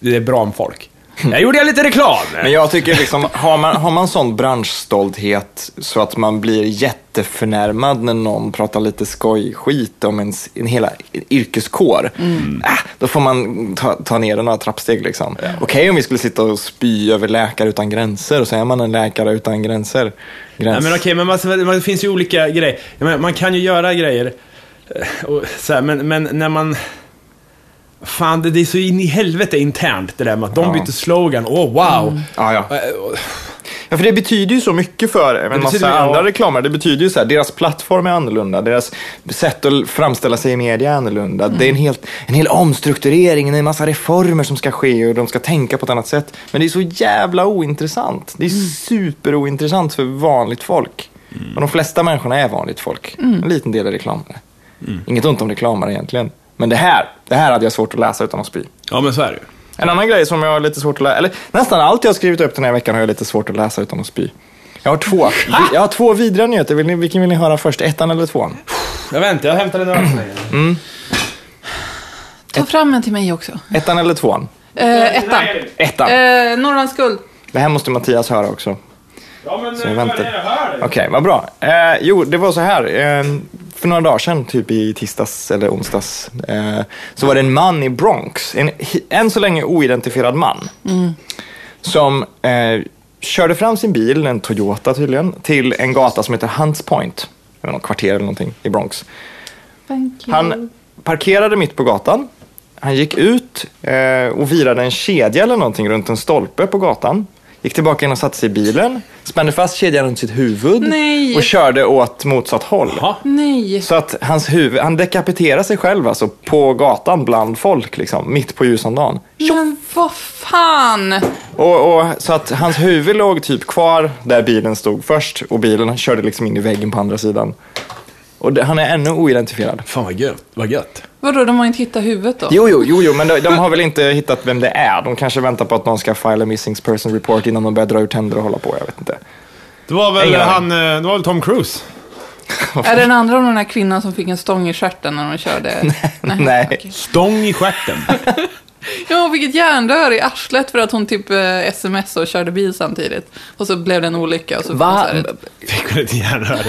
Det är bra om folk. Jag gjorde jag lite reklam! Men jag tycker liksom, har man, har man sån branschstolthet så att man blir jätteförnärmad när någon pratar lite skojskit om ens, en hela yrkeskår. Mm. Äh, då får man ta, ta ner den några trappsteg liksom. Okej om vi skulle sitta och spy över Läkare Utan Gränser och så är man en läkare utan gränser. Gräns. Nej, men okej, men man, man, det finns ju olika grejer. Jag menar, man kan ju göra grejer, eh, och, så här, men, men när man... Fan, det, det är så in i helvete internt det där med att de Ja. Mm. byter slogan. Åh, oh, wow! Ja, ja. Eh, och- Ja, för det betyder ju så mycket för en massa betyder- andra ja. reklamare. Det betyder ju så här, deras plattform är annorlunda, deras sätt att framställa sig i media är annorlunda. Mm. Det är en, helt, en hel omstrukturering, det är en massa reformer som ska ske och de ska tänka på ett annat sätt. Men det är så jävla ointressant. Det är Mm. superointressant för vanligt folk. Och de flesta människorna är vanligt folk. Mm. En liten del är reklamare. Inget ont om reklamare egentligen. Men det här, det här hade jag svårt att läsa utan att spy. Ja, men så är det ju. En annan grej som jag har lite svårt att läsa, eller nästan allt jag har skrivit upp den här veckan har jag lite svårt att läsa utan att spy. Jag har två, vi- jag har två vidriga nyheter, vill ni, vilken vill ni höra först? Ettan eller tvåan? Jag väntar, jag hämtar en öl så länge. Mm. Ta fram en till mig också. Ettan eller tvåan? Eh, ettan. Ettan. Eh, Norrlands guld. Det här måste Mattias höra också. Ja, men Så jag väntar. Okej, vad bra. Eh, jo, det var så här. Eh, för några dagar sedan, typ i tisdags eller onsdags, eh, så var det en man i Bronx, en hi- än så länge oidentifierad man, som eh, körde fram sin bil, en Toyota tydligen, till en gata som heter Hunts Point, eller något kvarter eller någonting i Bronx. Thank you. Han parkerade mitt på gatan. Han gick ut eh, och virade en kedja eller någonting runt en stolpe på gatan. Gick tillbaka in och satte sig i bilen, spände fast kedjan runt sitt huvud Nej. och körde åt motsatt håll. Jaha. Nej. Så att hans huvud, han dekapiterar sig själv alltså på gatan bland folk, liksom, mitt på ljusan dagen. Men vad fan! Och, och, så att hans huvud låg typ kvar där bilen stod först och bilen körde liksom in i väggen på andra sidan. Och det, han är ännu oidentifierad. Fan vad gött. Vad gött. Vadå, de har inte hittat huvudet då? Jo, jo, jo, jo men de, de har väl inte hittat vem det är. De kanske väntar på att någon ska file a missing person report innan de börjar dra ur tänder och hålla på. Jag vet inte. Det var väl Ingen aning. han, eh, det var väl Tom Cruise? Är det den andra om den här kvinnan som fick en stång i stjärten när hon körde? Nej. okej. Stång i stjärten. Ja, hon fick ett järnrör i arslet för att hon typ eh, smsade och körde bil samtidigt. Och så blev det en olycka och så Va? så här ett- Fick hon ett järnrör?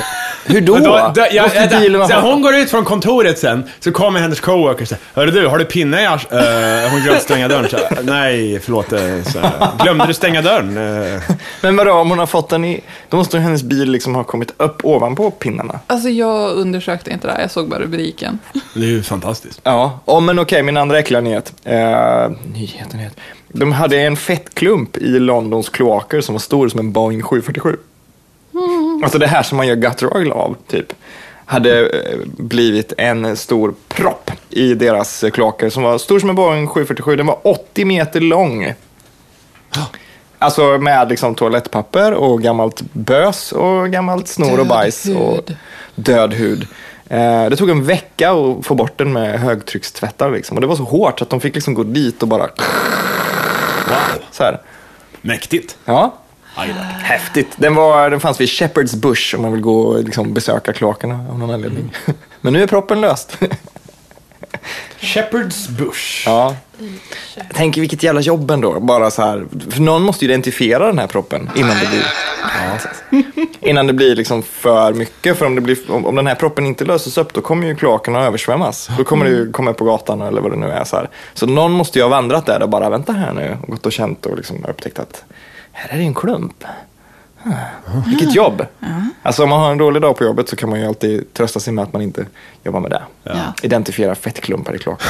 Hur då? Men då- då- jag- Måste vänta. bilen vara- Sen hon går ut från kontoret sen, så kommer hennes coworker och säger Hörru du, har du pinne i ars... Eh, hon glömde stänga dörren. Så, här, Nej, förlåt. eh, Så, här, glömde du stänga dörren? Eh, Men vadå, om hon har fått den i... Då måste hennes bil liksom ha kommit upp ovanpå pinnarna. Alltså jag undersökte inte det här, jag såg bara rubriken. det är ju fantastiskt. Ja, oh, men okej, min andra äckliga nyhet. Eh, nyheten nyhet. De hade en fettklump i Londons kloaker som var stor som en Boeing 747. Alltså det här som man gör gutteröl av, typ. Hade eh, blivit en stor propp i deras eh, kloaker som var stor som en Boeing 747. Den var 80 meter lång. Alltså med liksom toalettpapper och gammalt bös och gammalt snor och Död bajs och hud. död hud. Eh, Det tog en vecka att få bort den med högtryckstvättar. Liksom. Och det var så hårt att de fick liksom gå dit och bara Wow. så här. Mäktigt. Ja, Aj då. häftigt. Den, var, den fanns vid Shepherd's Bush om man vill gå och liksom besöka kloakerna av någon anledning. Men nu är proppen löst. Shepherd's Bush. Ja. Tänk vilket jävla jobb ändå. Bara så här. För någon måste ju identifiera den här proppen innan det blir, innan det blir liksom för mycket. För om, det blir, om, om den här proppen inte löses upp då kommer ju kloakerna att översvämmas. Då kommer det ju komma upp på gatan eller vad det nu är. Så, här. så någon måste ju ha vandrat där och bara vänta här nu och gått och känt och liksom upptäckt att här är det en klump. Ah, Vilket jobb! Alltså om man har en dålig dag på jobbet så kan man ju alltid trösta sig med att man inte jobbar med det. Ja. Identifiera fettklumpar i kloaken.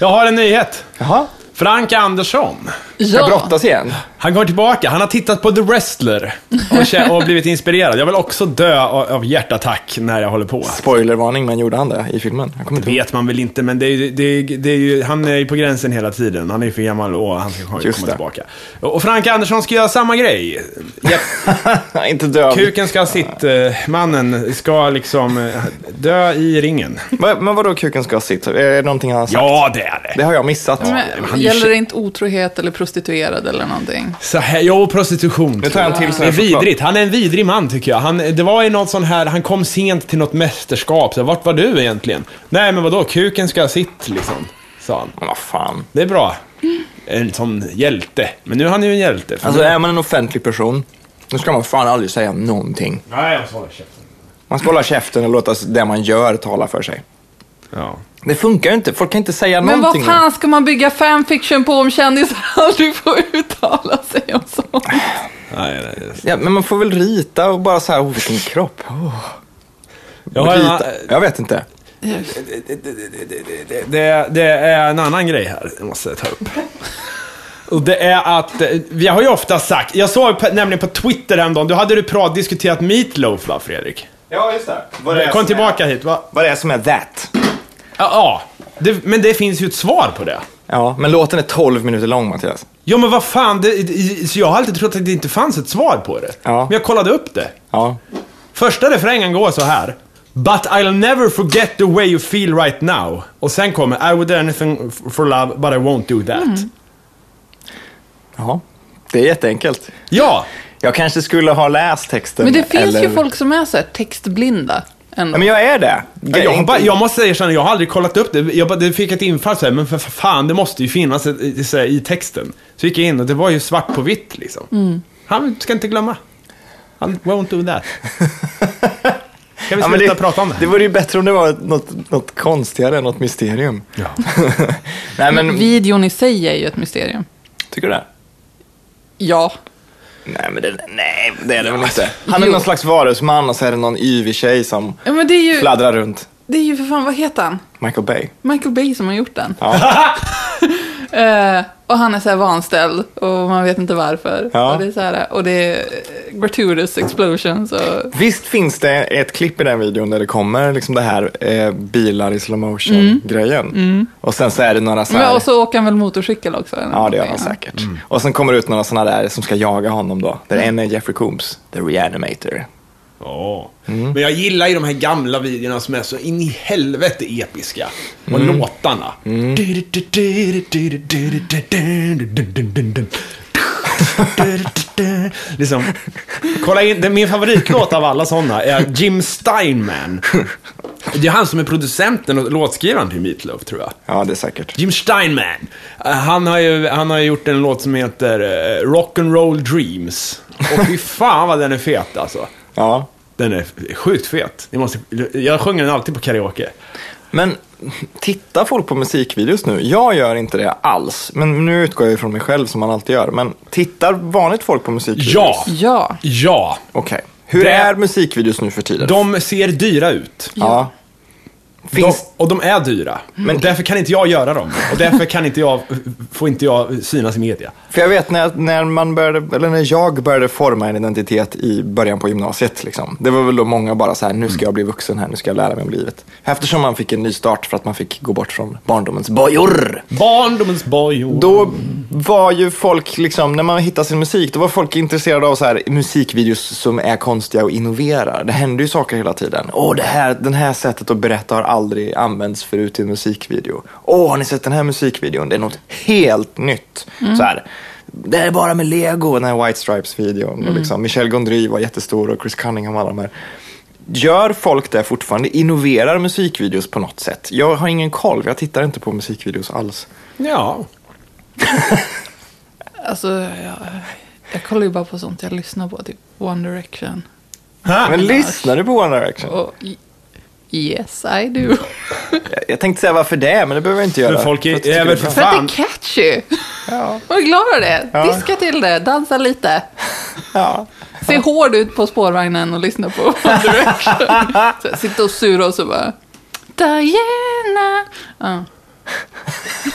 Jag har en nyhet. Jaha. Frank Andersson. Ska Ja, brottas igen? Han går tillbaka. Han har tittat på The Wrestler och, kä- och blivit inspirerad. Jag vill också dö av av hjärtattack när jag håller på. Spoilervarning, men gjorde han det i filmen? Jag kommer inte ihåg. vet man väl inte, men det är, ju- det är, det är ju, han är ju på gränsen hela tiden. Han är ju för gammal och han ska komma Just det. tillbaka. Och och Frank Andersson ska göra samma grej. Japp, Nej, inte döv. kuken ska ha sitt, eh, mannen ska liksom eh, dö i ringen. Men, men vadå kuken ska ha sitt? Är det någonting han har sagt? Ja, det är Det det. har jag missat. men han men, är gäller ju- det inte otrohet eller prostituerad eller någonting? Så här, jo, prostitution. Nu tar jag en till sån Det här är choklad. vidrigt. Han är en vidrig man tycker jag. Han, det var ju något sån här, han kom sent till något mästerskap. Så, här, vart var du egentligen? Nej, men vadå, kuken ska ha sitt liksom, sa han. Men vad fan. Det är bra. En sån hjälte. Men nu är han ju en hjälte. För Alltså nu... är man en offentlig person, då ska man fan aldrig säga någonting. Nej, jag sa käften. Man ska hålla käften och låta det man gör tala för sig. Ja. Det funkar ju inte. Folk kan inte säga Men vad någonting. fan ska man bygga fanfiction på om kändisar aldrig får uttala sig om sånt? Nej, nej, just. Ja, men man får väl rita och bara så här, oh, vilken kropp. Oh. Jag har rita. en, jag vet inte. det, det är en annan grej här jag måste ta upp. Och det är att, eh, vi har ju ofta sagt, jag såg på- nämligen på Twitter häromdagen, du hade du prat, diskuterat Meatloaf va Fredrik? Ja, just det. Vad Kom tillbaka hit va? vad det är som är that. Ja, ja. Det, men det finns ju ett svar på det. Ja, men låten är 12 minuter lång, Mattias. Ja men vad fan, det, det- så jag har alltid trott att det inte fanns ett svar på det. Ja. Men jag kollade upp det. Ja. Första refrängen går så här. But I'll never forget the way you feel right now. Och sen kommer I would do anything f- for love but I won't do that. Ja, det är jätteenkelt. Ja, Jag kanske skulle ha läst texten. Men det finns eller... ju folk som är så här textblinda. Ändå. Ja, men jag är det. jag, har inte- bara, jag måste erkänna, jag har aldrig kollat upp det. Jag bara, det fick ett infall så här, men för fan det måste ju finnas ett, i- så här, i texten. Så gick jag in och det var ju svart på vitt liksom. Han ska inte glömma. Han won't do that. Kan vi Ja, sluta men prata om det? Det vore ju bättre om det var något, något konstigare, något mysterium. Ja. Nej, men... Videon i sig är ju ett mysterium. Tycker du det? Ja. Nej, men det, nej, det är det väl inte. Han är Alltså, Jo. någon slags varusman och så är det någon yvig tjej som ja men det är ju, fladdrar runt. det är ju för fan, vad heter han? Michael Bay. Michael Bay som har gjort den. Ja. Eh, och han är så här vanställd och man vet inte varför. Ja. Och det är så här, och det är eh, gratuitous explosions och... Visst finns det ett klipp i den videon där det kommer liksom det här eh, bilar i slow motion-grejen. Och sen så är det några så här... Men, Mm. och så åker han väl motorcykel också? eller Ja, det gör någonting, han säkert. Mm. Och sen kommer det ut några sådana där som ska jaga honom då. Där en är Jeffrey Combs, The Reanimator. Ja. Men jag gillar ju de här gamla videorna som är så in i helvete episka. Och låtarna. Liksom, kolla in, den- min favoritlåt av alla sådana är Jim Steinman. Det är han som är producenten och låtskrivaren till Meat Loaf, tror jag. Ja, det är säkert. Jim Steinman. Eh, Han har ju han har ju gjort en låt som heter eh, Rock'n'Roll Dreams. Och fy fan vad den är fet alltså. Ja. Den är f- sjukt fet. Ni måste, jag sjunger den alltid på karaoke. Men tittar folk på musikvideos nu? Jag gör inte det alls. Men nu utgår jag ju från mig själv som man alltid gör. Men tittar vanligt folk på musikvideos? Ja! Ja. Ja! Okej. Hur Det- är musikvideos nu för tiden? De ser dyra ut. Ja. Finns- Mm. De, och de är dyra. Men därför kan inte jag göra dem. Och därför kan inte jag, får inte jag synas i media. För jag vet när, när, man började, eller när jag började forma en identitet i början på gymnasiet. Liksom. Det var väl då många bara så här, nu ska jag bli vuxen här, nu ska jag lära mig om livet. Eftersom man fick en ny start för att man fick gå bort från barndomens bojor. Barndomens bojor. Då var ju folk, liksom, när man hittade sin musik, då var folk intresserade av så här, musikvideos som är konstiga och innoverar. Det hände ju saker hela tiden. Åh, det här, den här sättet att berätta har aldrig använts förut i en musikvideo. Åh, har ni sett den här musikvideon? Det är något helt nytt. Så här, det här är bara med lego, den här White Stripes-videon. och Liksom. Michel Gondry var jättestor och Chris Cunningham och alla de här. Gör folk det fortfarande? Innoverar musikvideos på något sätt? Jag har ingen koll, jag tittar inte på musikvideos alls. Ja. Alltså, jag, jag kollar ju bara på sånt jag lyssnar på, typ One Direction. Ha. Men lyssnar du på One Direction? Och i- Yes, I Mm. do. Jag- Jag tänkte säga varför det, men det behöver jag inte göra. Men folk är- För att jag tycker är väl det är för För att det Fan. är catchy. bra. Var glad över det. Ja. Diska till det, dansa lite. Ja, Se hård ut på spårvagnen och lyssna på One Direction. Så jag sitter och sura och så bara... Diana! Ja.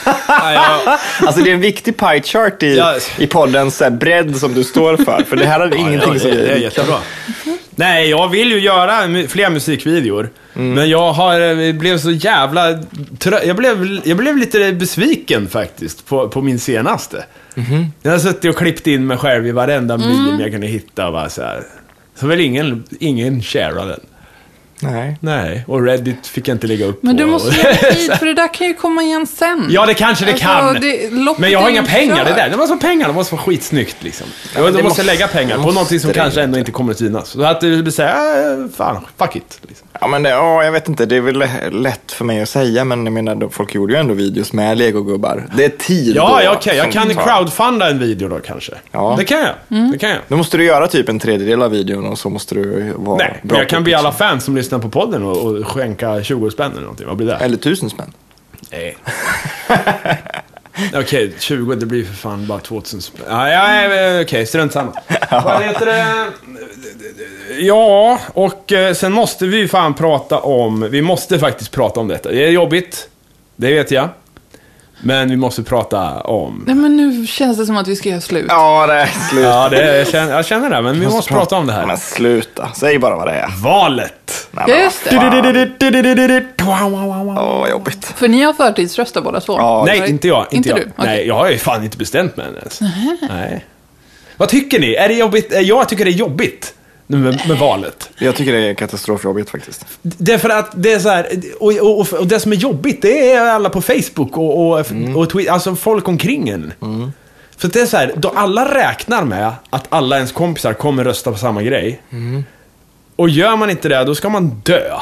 Ja, ja. ja. Alltså det är en viktig pie chart i, Ja. i poddens så här, bredd som du står för. För det här är ingenting ja, som det, vi... det är jättebra. Mm-hmm. Nej, jag vill ju göra mu- fler musikvideor. Mm. Men jag har, eh, blev så jävla trö- jag blev, jag blev lite besviken faktiskt på, på min senaste. Mm-hmm. Jag har suttit och klippt in mig själv i varenda Mm. meme jag kunde hitta. och Bara så, här. så väl ingen, ingen shareade den. Nej. Nej, och Reddit fick jag inte lägga upp Men på. du måste ge dig tid, för det där kan ju komma igen sen. Ja, det kanske det Alltså, kan. det- loppet men jag har är inga ju pengar. kört. Det där, det måste vara pengar. Det måste vara skitsnyggt liksom. men då det måste, måste- jag lägga pengar på måste någonting som det kanske ju. ändå inte kommer att synas. Så att eh, det blir såhär, äh, fan, fuck it. Liksom. Ja, men det, ja, jag vet inte, det är väl lätt för mig att säga, men jag menar, de- folk gjorde ju ändå videos med legogubbar. Det är tid Ja, då ja, okej. som Jag kan tar. crowdfunda en video då kanske. Ja. Det kan jag. Mm. Det kan jag. Då måste du göra typ en tredjedel av videon och så måste du vara Nej, bra men jag på kan be alla pitchen. fans som lyssnar på podden och, och skänka 20 spänn eller någonting. Vad blir det? Eller tusen spänn. Nej. Okej, 20, det blir för fan bara 2000 spänn. Ja, ja, ja, Okej, strunt samma. Vad heter det? Ja, och eh, sen måste vi ju fan prata om... Vi måste faktiskt prata om detta. Det är jobbigt, det vet jag. Men vi måste prata om... Nej, men nu känns det som att vi ska göra slut. Ja, det är slut. Ja, det, jag, känner, jag känner det, men vi måste prata om det här. Men sluta, säg bara vad det är. Valet! Nej, Ja, men just det. vad fan. Wow, wow, wow, wow. Åh, vad jobbigt. För ni har förtidsröstat båda två? Ja. Nej, inte jag. Inte, Inte jag. du? Okej. Nej, jag har ju fan inte bestämt mig än ens. Nej. Vad tycker ni? Är det jobbigt? Eh, Jag tycker det är jobbigt nu med, Eh. med valet. Jag tycker det är katastrofjobbigt faktiskt. D- Därför att det är så här, och, och, och, och det som är jobbigt det är alla på Facebook och, och, Mm. och Twitter, alltså folk omkring en. För att det är så här, då alla räknar med att alla ens kompisar kommer rösta på samma grej. Mm. Och gör man inte det, då ska man dö.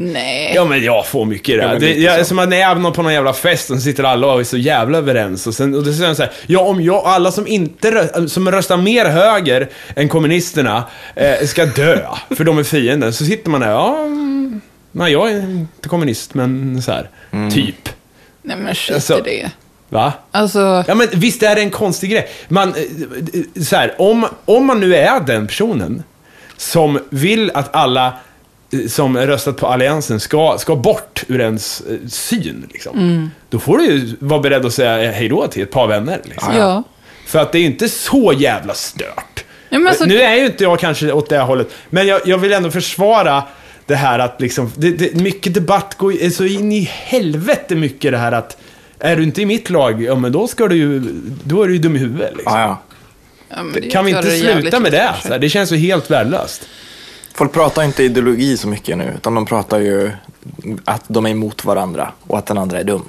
Nej. Ja men jag får mycket i det. Ja, här. men det lite jag, så. som att när jag är på någon jävla fest och sitter alla och är så jävla överens. Och, sen, och det säger så här, ja om jag, alla som inte rö- som röstar mer höger än kommunisterna eh, ska dö, för de är fienden. Så sitter man där, ja, mm, nej jag är inte kommunist men så här, Mm. typ. Nej, men skit Alltså- i det. Va? Alltså, Ja men visst är det en konstig grej. Man, eh, så här, om, om man nu är den personen som vill att alla eh, som röstat på Alliansen ska, ska bort ur ens eh, syn. Liksom. Mm. Då får du ju vara beredd att säga eh, hej då till ett par vänner. Liksom. ja. För att det är ju inte så jävla stört. Ja, men alltså- nu är ju inte jag kanske åt det hållet, men jag, jag vill ändå försvara det här att liksom, det, det, mycket debatt går ju- är så in i helvete mycket det här att är du inte i mitt lag, ja men då ska du ju, då är du ju dum i huvudet liksom. Ja, ja. ja men det Kan vi gör inte det jävligt sluta med lätt det? för sig. Så här, det känns så helt värdelöst. Folk pratar inte ideologi så mycket nu, utan de pratar ju att de är emot varandra och att den andra är dum.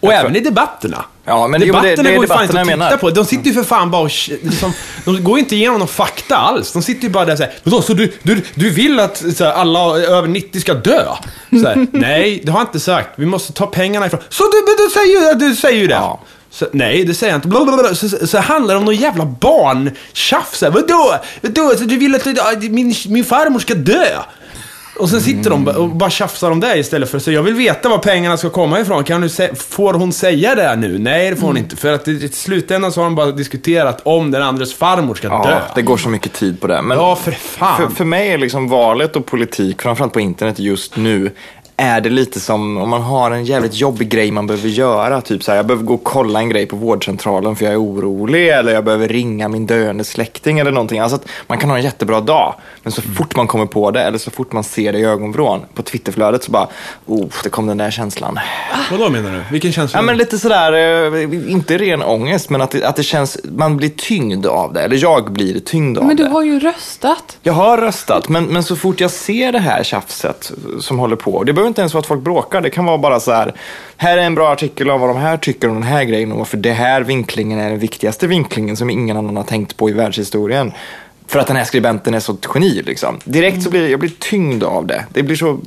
Och även i debatterna. Ja, men det- jo, men det- debatterna det är går ju fan inte debatterna jag att titta menar. på. De sitter ju för fan bara och... sh- Liksom, de går ju inte igenom någon fakta alls. De sitter ju bara där såhär. Vadå, så du, du, du vill att så här, alla över 90 ska dö? Så här, nej, det har jag inte sagt. Vi måste ta pengarna ifrån... Så du, men du säger ju du säger ju det! Ja. Så, nej, det säger jag inte. Blablabla. Så, så, så handlar det om någon jävla barntjafs. så här, Vadå? Vadå? Så du vill att att min, min farmor ska dö? Och sen sitter de och bara tjafsar om det istället för så jag vill veta var pengarna ska komma ifrån. Kan du sä- får hon säga det här nu? Nej, det får hon Mm. inte. För att i i slutändan så har de bara diskuterat om den andres farmor ska dö. Ja, det går så mycket tid på det. Men Ja, för fan. för, för mig är liksom valet och politik, framförallt på internet just nu, är det lite som om man har en jävligt jobbig grej man behöver göra. Typ så här, jag behöver gå och kolla en grej på vårdcentralen för jag är orolig. Eller jag behöver ringa min döende släkting eller någonting. Alltså att man kan ha en jättebra dag. Men Mm. så fort man kommer på det eller så fort man ser det i ögonvrån på Twitterflödet så bara, oh, det kom den där känslan. Ah. Vadå menar du? Vilken känsla? Ja, men lite sådär, eh, inte ren ångest, men att det, att det känns, man blir tyngd av det. Eller jag blir tyngd av Men du det. har ju röstat. Jag har röstat, men, men så fort jag ser det här tjafset som håller på, det behöver inte ens vara att folk bråkar, det kan vara bara så här, här är en bra artikel om vad de här tycker om den här grejen och varför det här vinklingen är den viktigaste vinklingen som ingen annan har tänkt på i världshistorien. För att den här skribenten är så ett geni liksom. Direkt så blir jag blir tyngd av det. Det blir så,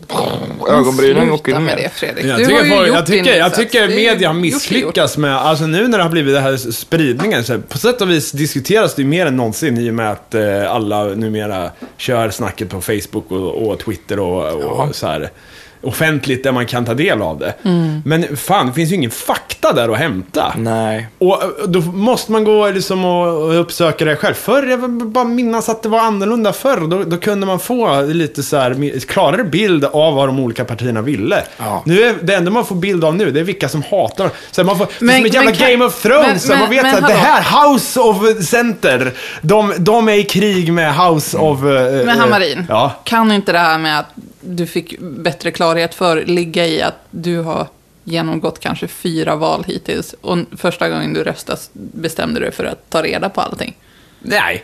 ögonbrynen åker Sluta ner. med det Fredrik. Jag du tycker, har ju folk- gjort jag tycker, din jag insats. tycker Det är ju media gjort, gjort. misslyckas med, alltså nu när det har blivit den här spridningen, så här, på sätt och vis diskuteras det ju mer än någonsin i och med att eh, alla numera kör snacket på Facebook och, och Twitter och, och så här offentligt där man kan ta del av det. Mm. Men fan, det finns ju ingen fakta där att hämta. Nej. Och eh, då måste man gå liksom och och uppsöka det själv. Förr, jag vill bara minnas att det var annorlunda förr. Då, då kunde man få lite så här mer- klarare bild av vad de olika partierna ville. Ja. Nu är, det enda man får bild av nu, det är vilka som hatar så här, man får, Det är Men- som ett jävla men kan- Game of Thrones. men- så här, man men- vet men att det hallå. här, House of Center, de, de är i krig med House of... eh, Men eh, Mm. Hammarin, Ja. kan inte det här med att du fick bättre klarhet för ligga i att du har genomgått kanske fyra val hittills och första gången du röstas bestämde du dig för att ta reda på allting? Nej.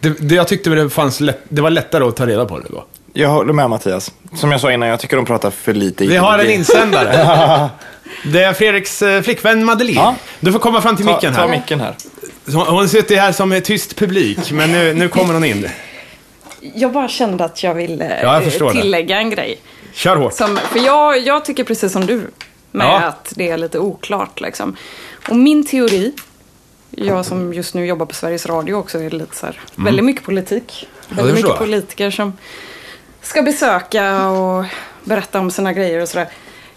Det, det, jag tyckte det, fanns lätt, det var lättare att ta reda på det då. Jag håller med Mattias. Som jag sa innan, jag tycker de pratar för lite Vi har en ideologi. insändare. Det är Fredriks eh, flickvän Madeleine. Ja. Du får komma fram till Ta, micken ta här. micken här. Hon- Hon sitter här som är tyst publik, men nu, nu kommer hon in. Jag bara kände att jag ville jag eh, förstår det. tillägga en grej. Kör hårt. Som, för jag, jag tycker precis som du med Ja. att det är lite oklart. Liksom. Och min teori, jag som just nu jobbar på Sveriges Radio också, är lite så här, väldigt mycket politik. väldigt Mm. förstår mycket jag. politiker som ska besöka och berätta om sina grejer och sådär.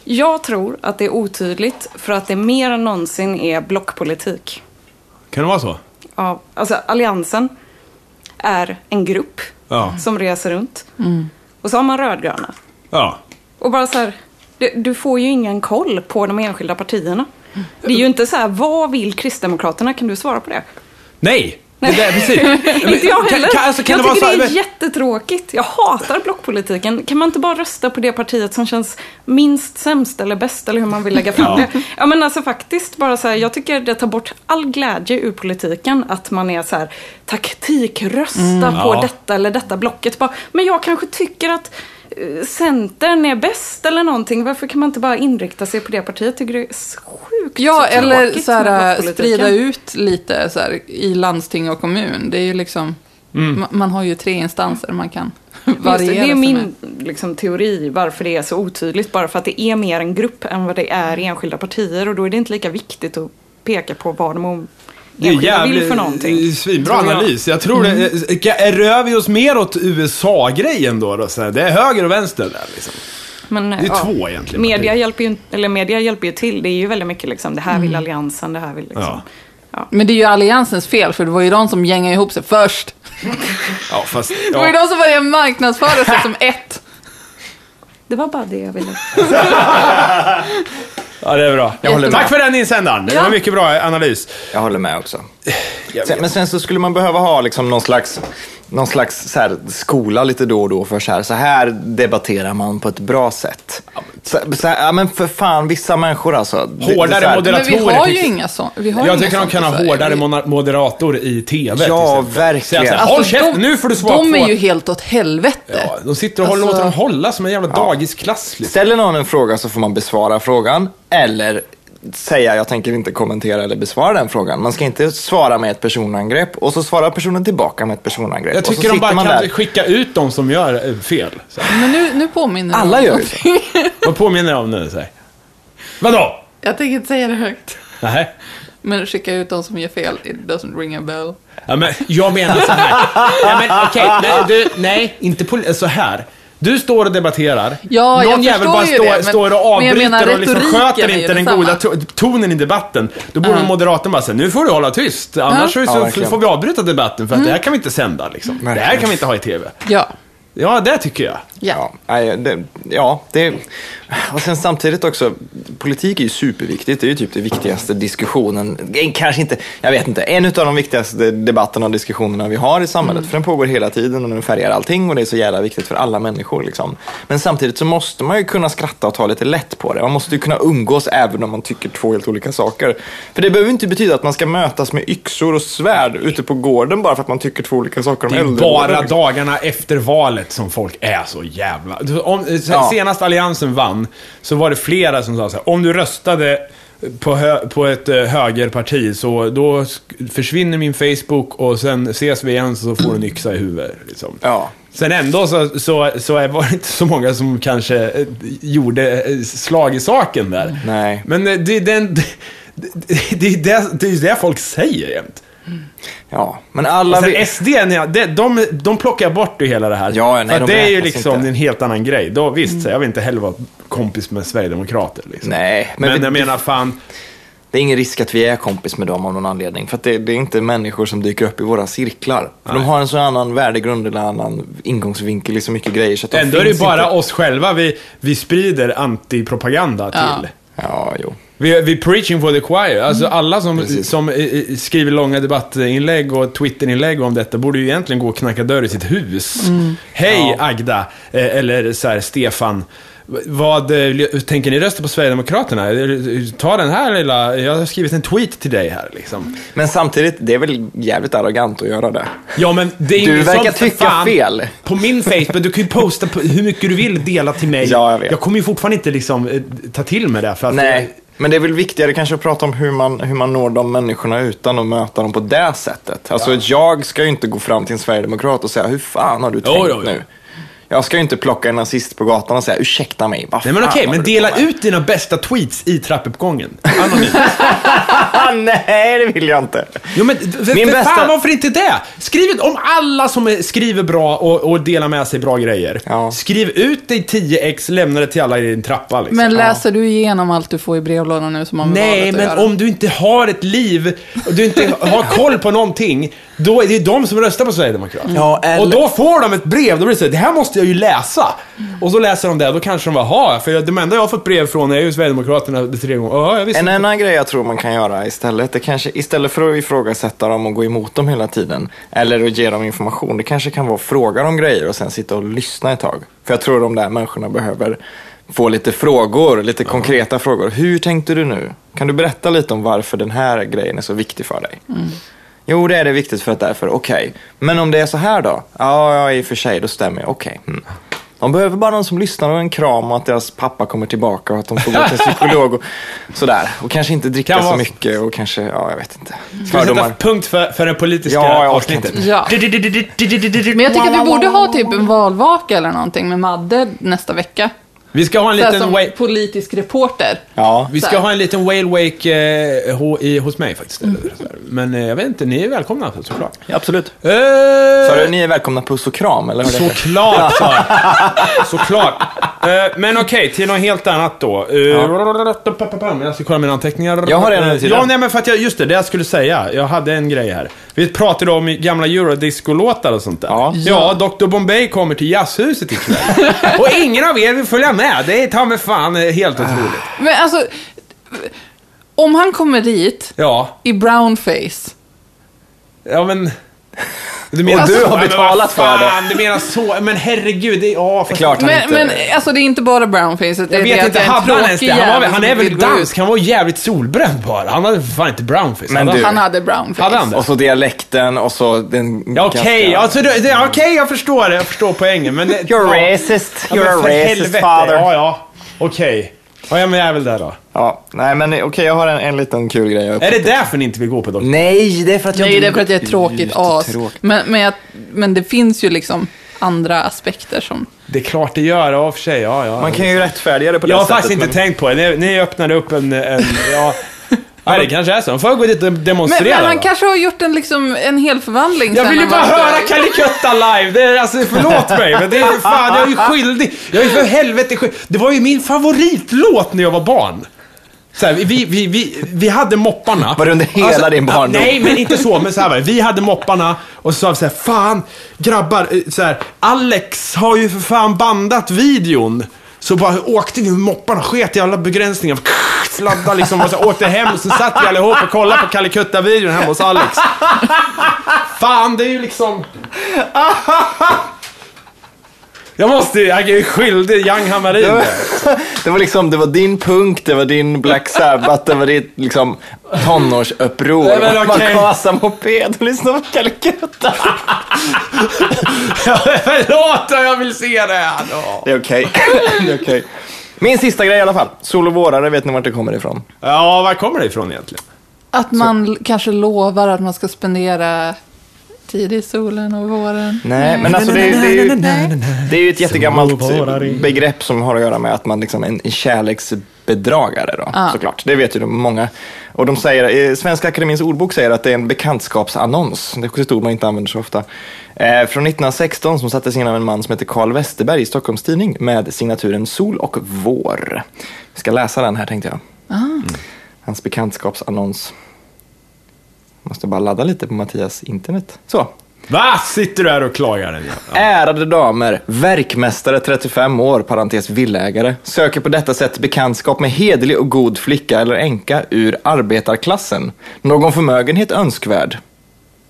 Jag tror att det är otydligt för att det mer än någonsin är blockpolitik. Kan det vara så? Ja, alltså Alliansen är en grupp Ja. som reser runt. Och så har man rödgröna. Ja. Och bara så här, du, du får ju ingen koll på de enskilda partierna. Det är ju inte så här, vad vill Kristdemokraterna? Kan du svara på det? Nej! Det där, precis. Men inte jag kan- heller. kan- alltså, kan jag det vara tycker så här- det är jättetråkigt. Jag hatar blockpolitiken. Kan man inte bara rösta på det partiet som känns minst sämst eller bäst eller hur man vill lägga fram det? Ja men alltså faktiskt bara så här, jag tycker det tar bort all glädje ur politiken att man är så här taktikrösta på Mm, Ja. detta eller detta blocket. Bara, men jag kanske tycker att eh, Centern är bäst eller någonting. Varför kan man inte bara inrikta sig på det partiet? Jag tycker det är så sjukt Ja, tråkigt eller så med här, eh, blockpolitiken. sprida ut lite så här, i landsting och kommun. Det är ju liksom, Mm. ma- man har ju tre instanser man kan Just det, variera det är sig min med. liksom, teori varför det är så otydligt. Bara för att det är mer en grupp än vad det är enskilda partier. Och då är det inte lika viktigt att peka på vad de om- enskilda vill för någonting. svinbra tror jag. Mm. analys. Jag tror det. eh, Rör vi oss mer åt USA-grejen då? då så här? Det är höger och vänster där liksom. Men, är två egentligen, Media partier. hjälper, ju, eller media hjälper ju till. Det är ju väldigt mycket liksom, det här vill alliansen, det här vill liksom. Mm. Ja. Men det är ju alliansens fel, för det var ju de som gängade ihop sig först. Ja, fast... Det var ju Ja. de som började marknadsföra sig som ett. Det var bara det jag ville. ja, det är bra. Jag håller med. Tack för den insändaren. Det var mycket bra analys. Jag håller med också. Sen, men sen så skulle man behöva ha liksom någon slags, någon slags så här skola lite då och då för så här, så här debatterar man på ett bra sätt. Så, så här, ja, men för fan, vissa människor alltså. det- det är Hårdare så här- moderator- Men vi tror har det ju finns- inga sådana. Vi har liksom ju Jag inga tycker de sånt kan i ha Sverige. hårdare mona- moderator i TV. till Ja, exempel. Säga så verkligen. här, Håll käften, nu får du svara Alltså, De på- är ju helt åt helvete. Ja, de sitter och håller, Alltså- låter dem hålla som en jävla dagisklass. Liksom. Ställer någon en fråga så får man besvara frågan eller säga jag tänker inte kommentera eller besvara den frågan. Man ska inte svara med ett personangrepp och så svarar personen tillbaka med ett personangrepp. Jag och så tycker de sitter bara man kan där. skicka ut de som gör eh, fel. Så här. Men nu, nu påminner du Alla om gör ju något. så. Vad påminner jag om nu? Så här. Vadå? Jag tänker inte säga det högt. Nej. Men skicka ut de som gör fel. It doesn't ring a bell. Ja, men, jag menar så här. Nej, men, okej, nej, du, nej, inte poli- så här. Du står och debatterar. Ja, jag Någon jävel förstår bara ju står, det, men- står och men jag avbryter menar, och liksom retoriken är sköter ju inte den densamma. goda to- tonen i debatten. Då borde moderatorn bara säga, nu får du hålla tyst. Annars så, Ja, så verkligen. Mm. får vi avbryta debatten för att det här kan vi inte sända. Liksom. Det här Verkligen. kan vi inte ha i TV. Ja. Ja, det tycker jag. Ja. nej, det, ja det, och sen samtidigt också, politik är ju superviktigt. Det är ju typ det viktigaste diskussionen, eh, kanske inte, jag vet inte, en av de viktigaste debatterna och diskussionerna vi har i samhället. Mm. För den pågår hela tiden och den färgar allting och det är så jävla viktigt för alla människor. Liksom. Men samtidigt så måste man ju kunna skratta och ta lite lätt på det. Man måste ju kunna umgås även om man tycker två helt olika saker. För det behöver inte betyda att man ska mötas med yxor och svärd ute på gården bara för att man tycker två olika saker om Det är äldrevården, bara liksom. dagarna efter valet som folk är så jävla... Om, eh, sen- Ja. Senast Alliansen vann så var det flera som sa så här, om du röstade på, hö, på ett eh, högerparti så då sk- försvinner min Facebook och sen ses vi igen så får du en yxa i huvudet. Liksom. Ja. Sen ändå så, så, så är- var det inte så många som kanske eh, gjorde eh, slag i saken där. Nej. Men eh, det är den... Det, det, det, är det, det är det folk säger jämt. Ja, men alla Sen vet- SD, nej, det- de, de plockar bort ju hela det här. Ja, nej, För att de det är ju räknas liksom inte. en helt annan grej. Då, visst, så jag vill inte heller vara kompis med Sverigedemokrater. Liksom. Nej, men men vi- jag menar fan, Det är ingen risk att vi är kompis med dem av någon anledning. För att det, det är inte människor som dyker upp i våra cirklar. För de har en sån annan värdegrund eller annan ingångsvinkel i så mycket grejer. Så att de ändå är det ju finns bara inte. oss själva vi, vi sprider antipropaganda Ja. till. Ja, jo. Vi, vi preaching for the choir. Alltså alla som, Mm. Precis. som eh, eh, skriver långa debattinlägg och twitterinlägg om detta borde ju egentligen gå och knacka dörr i sitt hus. Mm. Hej Agda, eh, eller så här, Stefan. V- Vad eh, tänker ni rösta på Sverigedemokraterna? Eh, Ta den här lilla, jag har skrivit en tweet till dig här liksom. Men samtidigt, det är väl jävligt arrogant att göra det. Ja men det är Du ingen verkar sån för tycka fan. fel. På min Facebook, du kan ju posta på hur mycket du vill dela till mig. Ja, jag vet. kommer ju fortfarande inte liksom eh, ta till mig det för att Nej, men det är väl viktigare kanske att prata om hur man, hur man når de människorna utan att möta dem på det sättet. Alltså, jag ska ju inte gå fram till en sverigedemokrat och säga, hur fan har du tänkt jo, jo. nu? Jag ska ju inte plocka en nazist på gatan och säga, ursäkta mig, Ah, vad Nej men fan okej, håller men du på dela med?" ut dina bästa tweets i trappuppgången. Anonymt. Ah, nej, det vill jag inte. Jo men v- Min för bästa- fan varför inte det? Skriv ut- om alla som är- skriver bra och, och delar med sig bra grejer. Ja. Skriv ut dig 10x, lämna det till alla i din trappa liksom. Men läser du igenom allt du får i brevlådan nu som har med Nej, valet att men göra? om du inte har ett liv och du inte har koll på någonting, då är det de som röstar på Sverigedemokraterna. Ja, eller- Och då får de ett brev, då blir det så här, det här måste jag ju läsa. Och så läser de det, då kanske de bara, "Jaha, för de enda jag har fått brev från är ju Sverigedemokraterna tre gånger. Ja, jag visste En inte." annan grej jag tror man kan göra istället, det kanske, istället för att ifrågasätta dem och gå emot dem hela tiden, eller att ge dem information, det kanske kan vara att fråga dem grejer och sen sitta och lyssna ett tag. För jag tror de där människorna behöver få lite frågor, lite konkreta frågor. Hur tänkte du nu? Kan du berätta lite om varför den här grejen är så viktig för dig? Jo, det är det viktigt för att därför, okej. Men om det är så här då? Ja, ja i och för sig, då stämmer jag. Okej. Mm. De behöver bara någon som lyssnar och en kram och att deras pappa kommer tillbaka och att de får gå till psykolog och sådär. Och kanske inte dricka Kan så vara- mycket och kanske, ja jag vet inte. Ska vi sätta punkt för, för det politiska Ja, jag orkar avsnittet? inte. Ja. Men jag tycker att vi borde ha typ en valvaka eller någonting med Madde nästa vecka. Vi ska ha en Så här som liten, wa- politisk reporter. Ja. vi ska ha en liten whale wake eh, ho- i, hos mig faktiskt. Mm. eller så här. Men eh, jag vet inte, ni är välkomna alltså, såklart. absolut. Eh, Så du, ni är välkomna puss och kram eller vad det heter? Såklart, sa jag. Såklart. Eh, men okej, till något helt annat då. Eh, Jag ska kolla mina anteckningar. Jag har en under tiden. Ja, nej men för att jag, just det, det jag skulle säga. Jag hade en grej här. Vi pratade om gamla eurodisco-låtar och sånt där. Ja. ja, Dr Bombay kommer till jazzhuset ikväll. och ingen av er vill följa med. Det är ta mig fan eh, helt Ah. otroligt. Men alltså, om han kommer dit Ja, i brownface. ja men... Du Och du har Ja, men betalat vad för det. fan, Du menar så, men herregud. Det är, ja, fast- Klart han Men, inte... men alltså det är inte bara brownface. Det är Jag det vet att inte, jag är en hade han ens tråkig det? Han, var, jävel väl- han som är väl vill gå ut. dansk, han var jävligt solbränd bara. Han hade för fan inte brownface. Men han du- Han hade brownface. Hade han det? Och så dialekten och så den... Ja, okej, ganska- alltså, det- det- okej, jag förstår det. Jag förstår poängen. Men, det- You're ja. racist, Ja, men you're a för racist helvete. father. Ja, ja. Okej. Ja, ja, men jag är väl där då. Ja, nej men okej, jag har en, en liten kul grej. jag- Är det därför ni inte vill gå på Mm. doktorn? Nej, det är för att jag Nej, inte det är för att jag är ett tråkigt as. Jättetråkigt. Men, men, jag, men det finns ju liksom andra aspekter som... Det är klart det gör, ja, i och för sig. Ja, ja. Man kan ju rättfärdiga det på det jag har sättet. faktiskt inte tänkt på det. Ni, ni öppnade upp en... en ja. Nej, det kanske är så. De får gå dit och Men, demonstrera. men han då. kanske har gjort en, liksom, en hel förvandling Jag sen vill ju han var bara höra aktuell. Calicutta live! Det är, alltså, förlåt mig, men det är fan, jag är ju skyldig. Jag är för helvete skyldig. Det var ju min favoritlåt när jag var barn. Så här, vi, vi, vi, vi hade mopparna. Var det under hela din barndom? ja, Nej, men inte så. Men så här var det. Vi hade mopparna och så sa vi så här, fan grabbar, eh, så här, Alex har ju för fan bandat videon. Så bara åkte vi med mopparna, sket i alla begränsningar. Sladdade liksom och så här, åkte hem. Så satt vi allihop och kollade på Kalle Kutta-videon hemma hos Alex. Fan, det är ju liksom... Jag måste ju, jag är ju skyldig Young Hammarin det. Det var liksom, det var din punk, det var din Black Sabbath, det var ditt liksom tonårsuppror. Nej, men Man okej. gasar moped och lyssnar på Calcutta. Förlåt, jag vill se det här då. Det är okej. Det är okej. Min sista grej i alla fall. Sol och vårare, vet ni vart det kommer ifrån? Ja, var kommer det ifrån egentligen? Att man l- kanske lovar att man ska spendera tid i solen och våren. Nej, men alltså det, är- det, är, ju, det är ju ett jättegammalt begrepp som har att göra med att man liksom är en en kärleksbedragare då, såklart. Det vet ju de många. Och de säger, eh, Svenska Akademins ordbok säger att det är en bekantskapsannons. Det är också ett ord man inte använder så ofta. Eh, från 1916 som sattes in av en man som heter Carl Westerberg i Stockholms Tidning med signaturen Sol och vår. Vi ska läsa den här tänkte jag. Mm. Hans bekantskapsannons. Måste bara ladda lite på Mattias internet. Så, Va? Sitter du här och klagar? Den jävla? Ärade damer, verkmästare 35 år, parentes villägare, söker på detta sätt bekantskap med hederlig och god flicka eller änka ur arbetarklassen. Någon förmögenhet önskvärd.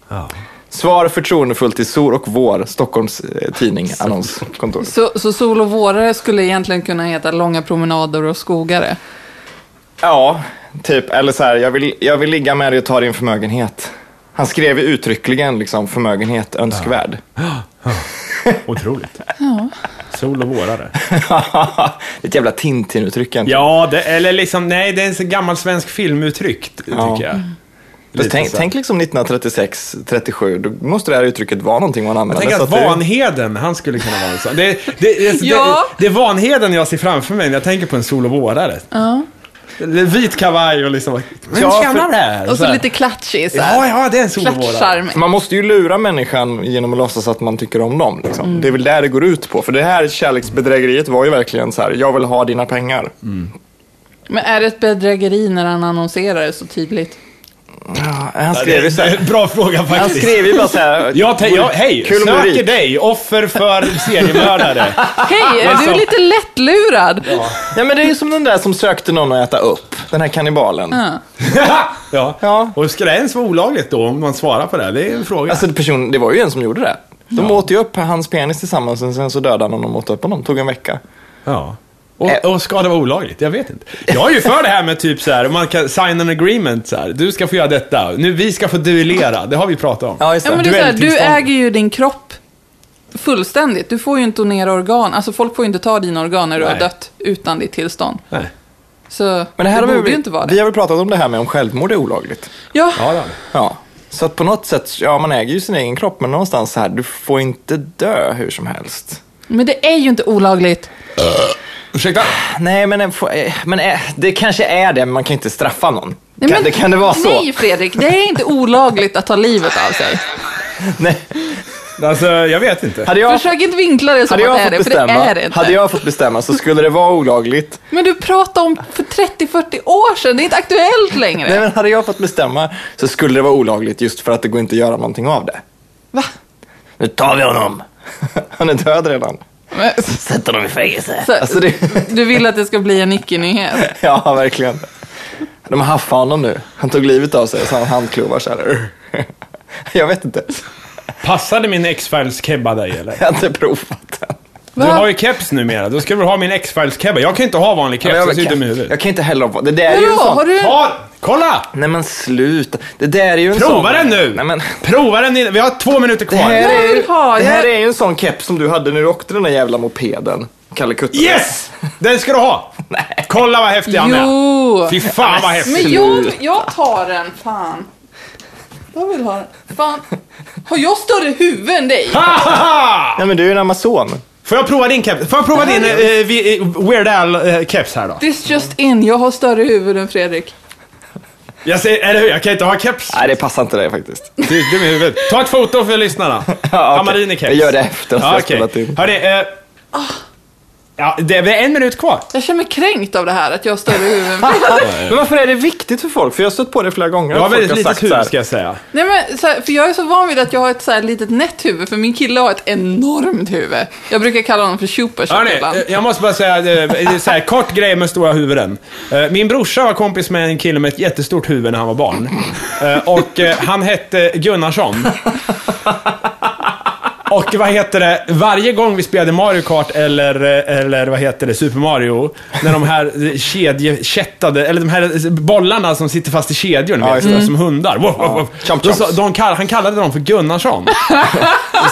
Ja. Svar förtroendefullt till Sor och Vår, Stockholms eh, tidning, annonskontor. Så, så sol och vårare skulle egentligen kunna heta långa promenader och skogare. Ja, typ. Eller så här, jag vill, jag vill ligga med dig och ta din förmögenhet. Han skrev ju uttryckligen liksom förmögenhet önskvärd. Otroligt. Sol och vårare. Det är ett jävla Tintin-uttryck egentligen. Ja, det, eller liksom, nej, det är en så gammal svensk filmuttryck, t- tycker Ja. jag. Fast Lite tänk, så. tänk liksom 1936, 37, då måste det här uttrycket vara någonting man använder. Tänk så att det- Vanheden, han skulle kunna vara en sån. Det, det, det, det, Ja. det, är Vanheden jag ser framför mig när jag tänker på en sol och vårare. Ja. Eller Vit kavaj och liksom... Men Ja, tjena för- där! Och så så här. lite klatschig. så här. Ja, ja, det är en sol och vårare. Klatschcharmig. Man måste ju lura människan genom att låtsas att man tycker om dem. Liksom. Mm. Det är väl det det går ut på. För det här kärleksbedrägeriet var ju verkligen så här, jag vill ha dina pengar. Mm. Men är det ett bedrägeri när han annonserar det så tydligt? Ja, han Det skrev ju så är här, en bra fråga han faktiskt. skrev ju bara så här, Jag tänk, jag, hej, kul om du är söker rik. dig, offer för seriemördare. Hej, är du så. lite lättlurad? Ja men det är ju som den där som sökte någon att äta upp, den här kannibalen. ja. Ja. Och ska det ens vara olagligt då, om man svarar på det? Det är en fråga. Alltså person, det var ju en som gjorde det. De åt ju upp hans penis tillsammans och sen så dödade han honom och åt upp honom. Tog en vecka. ja. eh, Och, och ska det vara olagligt? Jag vet inte. Jag är ju för det här med typ så här, man kan sign an agreement så här. Du ska få göra detta. Nu, vi ska få duellera. Det har vi pratat om. Ja, just Ja, det. men det är så här, du Duelltillstånd. äger ju din kropp fullständigt. Du får ju inte donera organ. Alltså folk får ju inte ta dina organ när du har Nej. dött utan ditt tillstånd. Nej. Så Men det här har borde vi, ju inte vara vi det. har väl pratat om det här med om självmord är olagligt. Ja, Ja, då. Ja. Så att på något sätt, ja man äger ju sin egen kropp men någonstans så här, du får inte dö hur som helst. men det är ju inte olagligt. Ursäkta? Nej men, en få- eh, men eh, det kanske är det, men man kan inte straffa någon. Nej, kan, men- det, kan det vara Nej, Fredrik. Det är inte olagligt att ta livet av sig. så? Nej. Alltså, jag vet inte. Hade jag, Försök inte vinkla det som hade jag att det fått är det, för det bestämma, är det inte. hade jag fått bestämma så skulle det vara olagligt. Men du pratade om för 30-40 år sedan. Det är inte aktuellt längre. Nej men hade jag fått bestämma så skulle det vara olagligt just för att det går inte att göra någonting av det. Va? Nu tar vi honom! Han är död redan. Men, Sätt honom i fängelse. så, Alltså det... Du vill att det ska bli en icke-nyhet? Ja, verkligen. De har haffat honom nu. Han tog livet av sig, så han handklovar så här. Jag vet inte. Passade min X-Files kebba dig eller? Jag har inte provat den. Du har ju keps numera. Då ska du ha min X-Files kebba. Jag kan inte ha vanlig keps. Jag jag, ser ut i kan, huvudet. jag kan inte heller ha Det där är ju en Vadå? sån... Har du... Ta- Kolla! Nej men sluta. Det där är ju en sån... Prova den nu! Nej, men... Prova den innan. Vi har två Det minuter kvar. här, Jag är ju, vill ha, det här jag- är ju en sån keps som du hade när du åkte den där jävla mopeden. Kalle Kutta. Yes! Den ska du ha! Kolla vad häftig han är. Jo! Fy fan vad häftig. Men jag, jag tar den, fan. Jag vill ha den. Fan. Har jag större huvud än dig? Hahaha! Nej men du är ju en amazon. Får jag prova din keps? Får jag prova din eh, vi- eh, Weird Al-keps här då? This just in, jag har större huvud än Fredrik. Jag säger, eller hur? Jag kan inte ha keps. Nej det passar inte dig faktiskt. Du är dum i huvudet. Ta ett foto för lyssnarna. Ja, okej. Hammarin i keps. Jag gör det efter att vi har spelat in. Hörni, eh, Ja, det är en minut kvar. Jag känner mig kränkt av det här, att jag har större huvud. Men varför är det viktigt för folk? För jag har stött på det flera gånger. Jag har att folk väldigt litet så här- huvud ska jag säga. Nej, men, så här, för jag är så van vid att jag har ett så här litet nätt huvud, för min kille har ett enormt huvud. Jag brukar kalla honom för Supershot Hörni, ibland. eh, jag måste bara säga, eh, det är så här, kort grej med stora huvuden. Eh, Min brorsa var kompis med en kille med ett jättestort huvud när han var barn. Eh, Och eh, han hette Gunnarsson. Och vad heter det, varje gång vi spelade Mario Kart eller, eh, eller vad heter det, Super Mario, när de här kedjekättade, eller de här bollarna som sitter fast i kedjor, ni Ja, vet, just det. som hundar. Wow, wow, wow. Chomp, Då chomp. sa- de, kall- han kallade dem för Gunnarsson.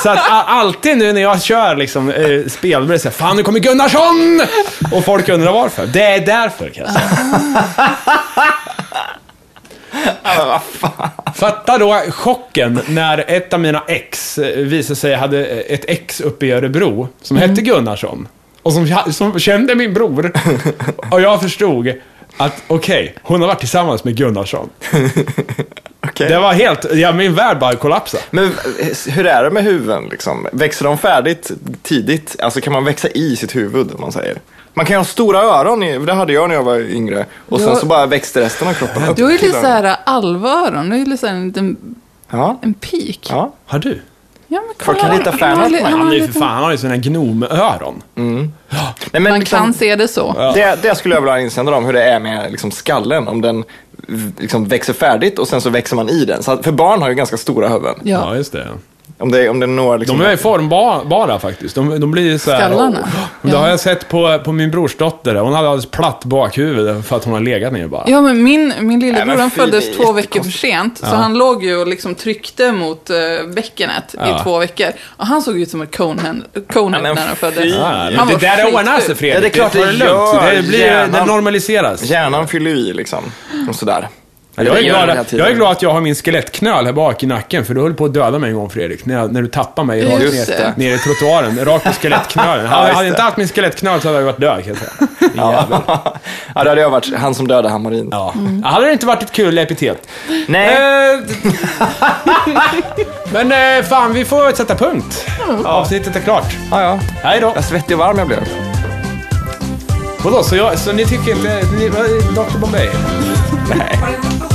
så att a- alltid nu när jag kör liksom, eh, spel, då blir det såhär, fan nu kommer Gunnarsson! Och folk undrar varför. Det är därför kan jag säga. Fatta då chocken när ett av mina ex eh, visade sig hade eh, ett ex uppe i Örebro som hette Gunnarsson. Och som, som kände min bror. Och jag förstod att okej, hon har varit tillsammans med Gunnarsson. Okej. Det var helt, ja min värld bara kollapsade. Men eh, hur är det med huvuden? Liksom? Växer de färdigt tidigt? Alltså kan man växa i sitt huvud? om Man säger? Man kan ju ha stora öron, i- det hade jag när jag var yngre. Och sen Ja. så bara växte resten av kroppen upp. Du har ju till lite så här alvöron, du har ju lite så här en liten Ja. en pik. Ja. ja. Har du? men kolla. Folk kan lita han- fan han har på li- mig. han Han har är ju lite- för fan, han har ju såna här gnomöron. Nej, men Man liksom, kan se det så. det, det skulle jag vilja ha insändare om, hur det är med liksom, skallen. Om den v- liksom, växer färdigt och sen så växer man i den. Så att, för barn har ju ganska stora huvuden. Ja. Ja, just det. Om det, om det når, liksom, De är formbara bara, faktiskt. De, de blir ju så här, Skallarna. Det har jag sett på, på min brorsdotter. Hon hade alldeles platt bakhuvud för att hon har legat ner bara. Ja, men min, min Nej, lillebror men han fy, det är föddes två jättekonstigt. veckor för sent. Så han låg ju och liksom tryckte mot eh, bäckenet Ja. i två veckor. Och han såg ut som en Conehead Conehead men när han fy. föddes. Ja, Han men var det där ordnar skitsur. sig Fredrik. Ja, det är klart Ta det lugnt. gör. Det, blir, det Hjärnan- normaliseras. Hjärnan fyller ju i liksom. Och sådär. Ja, Jag är, Det gör den glad, hela att- tiden. jag är glad att jag har min skelettknöl här bak i nacken, för du höll på att döda mig en gång Fredrik, när, jag, när du tappade mig rakt Just ner, det. ner i trottoaren, rakt på skelettknölen. Ja, Hade just jag inte det. haft min skelettknöl så hade jag varit död kan jag säga. Ja. ja, det hade jag varit. Han som dödade Hammarin. Ja. Hade det inte varit ett kul epitet? Nej. Eh, Men eh, fan, vi får sätta punkt. Avsnittet är klart. Ja, ja. Hej då. Vad svettig och varm jag blev. Vadå, så, jag, så ni tycker inte... Ni, Dr Bombay? Bye.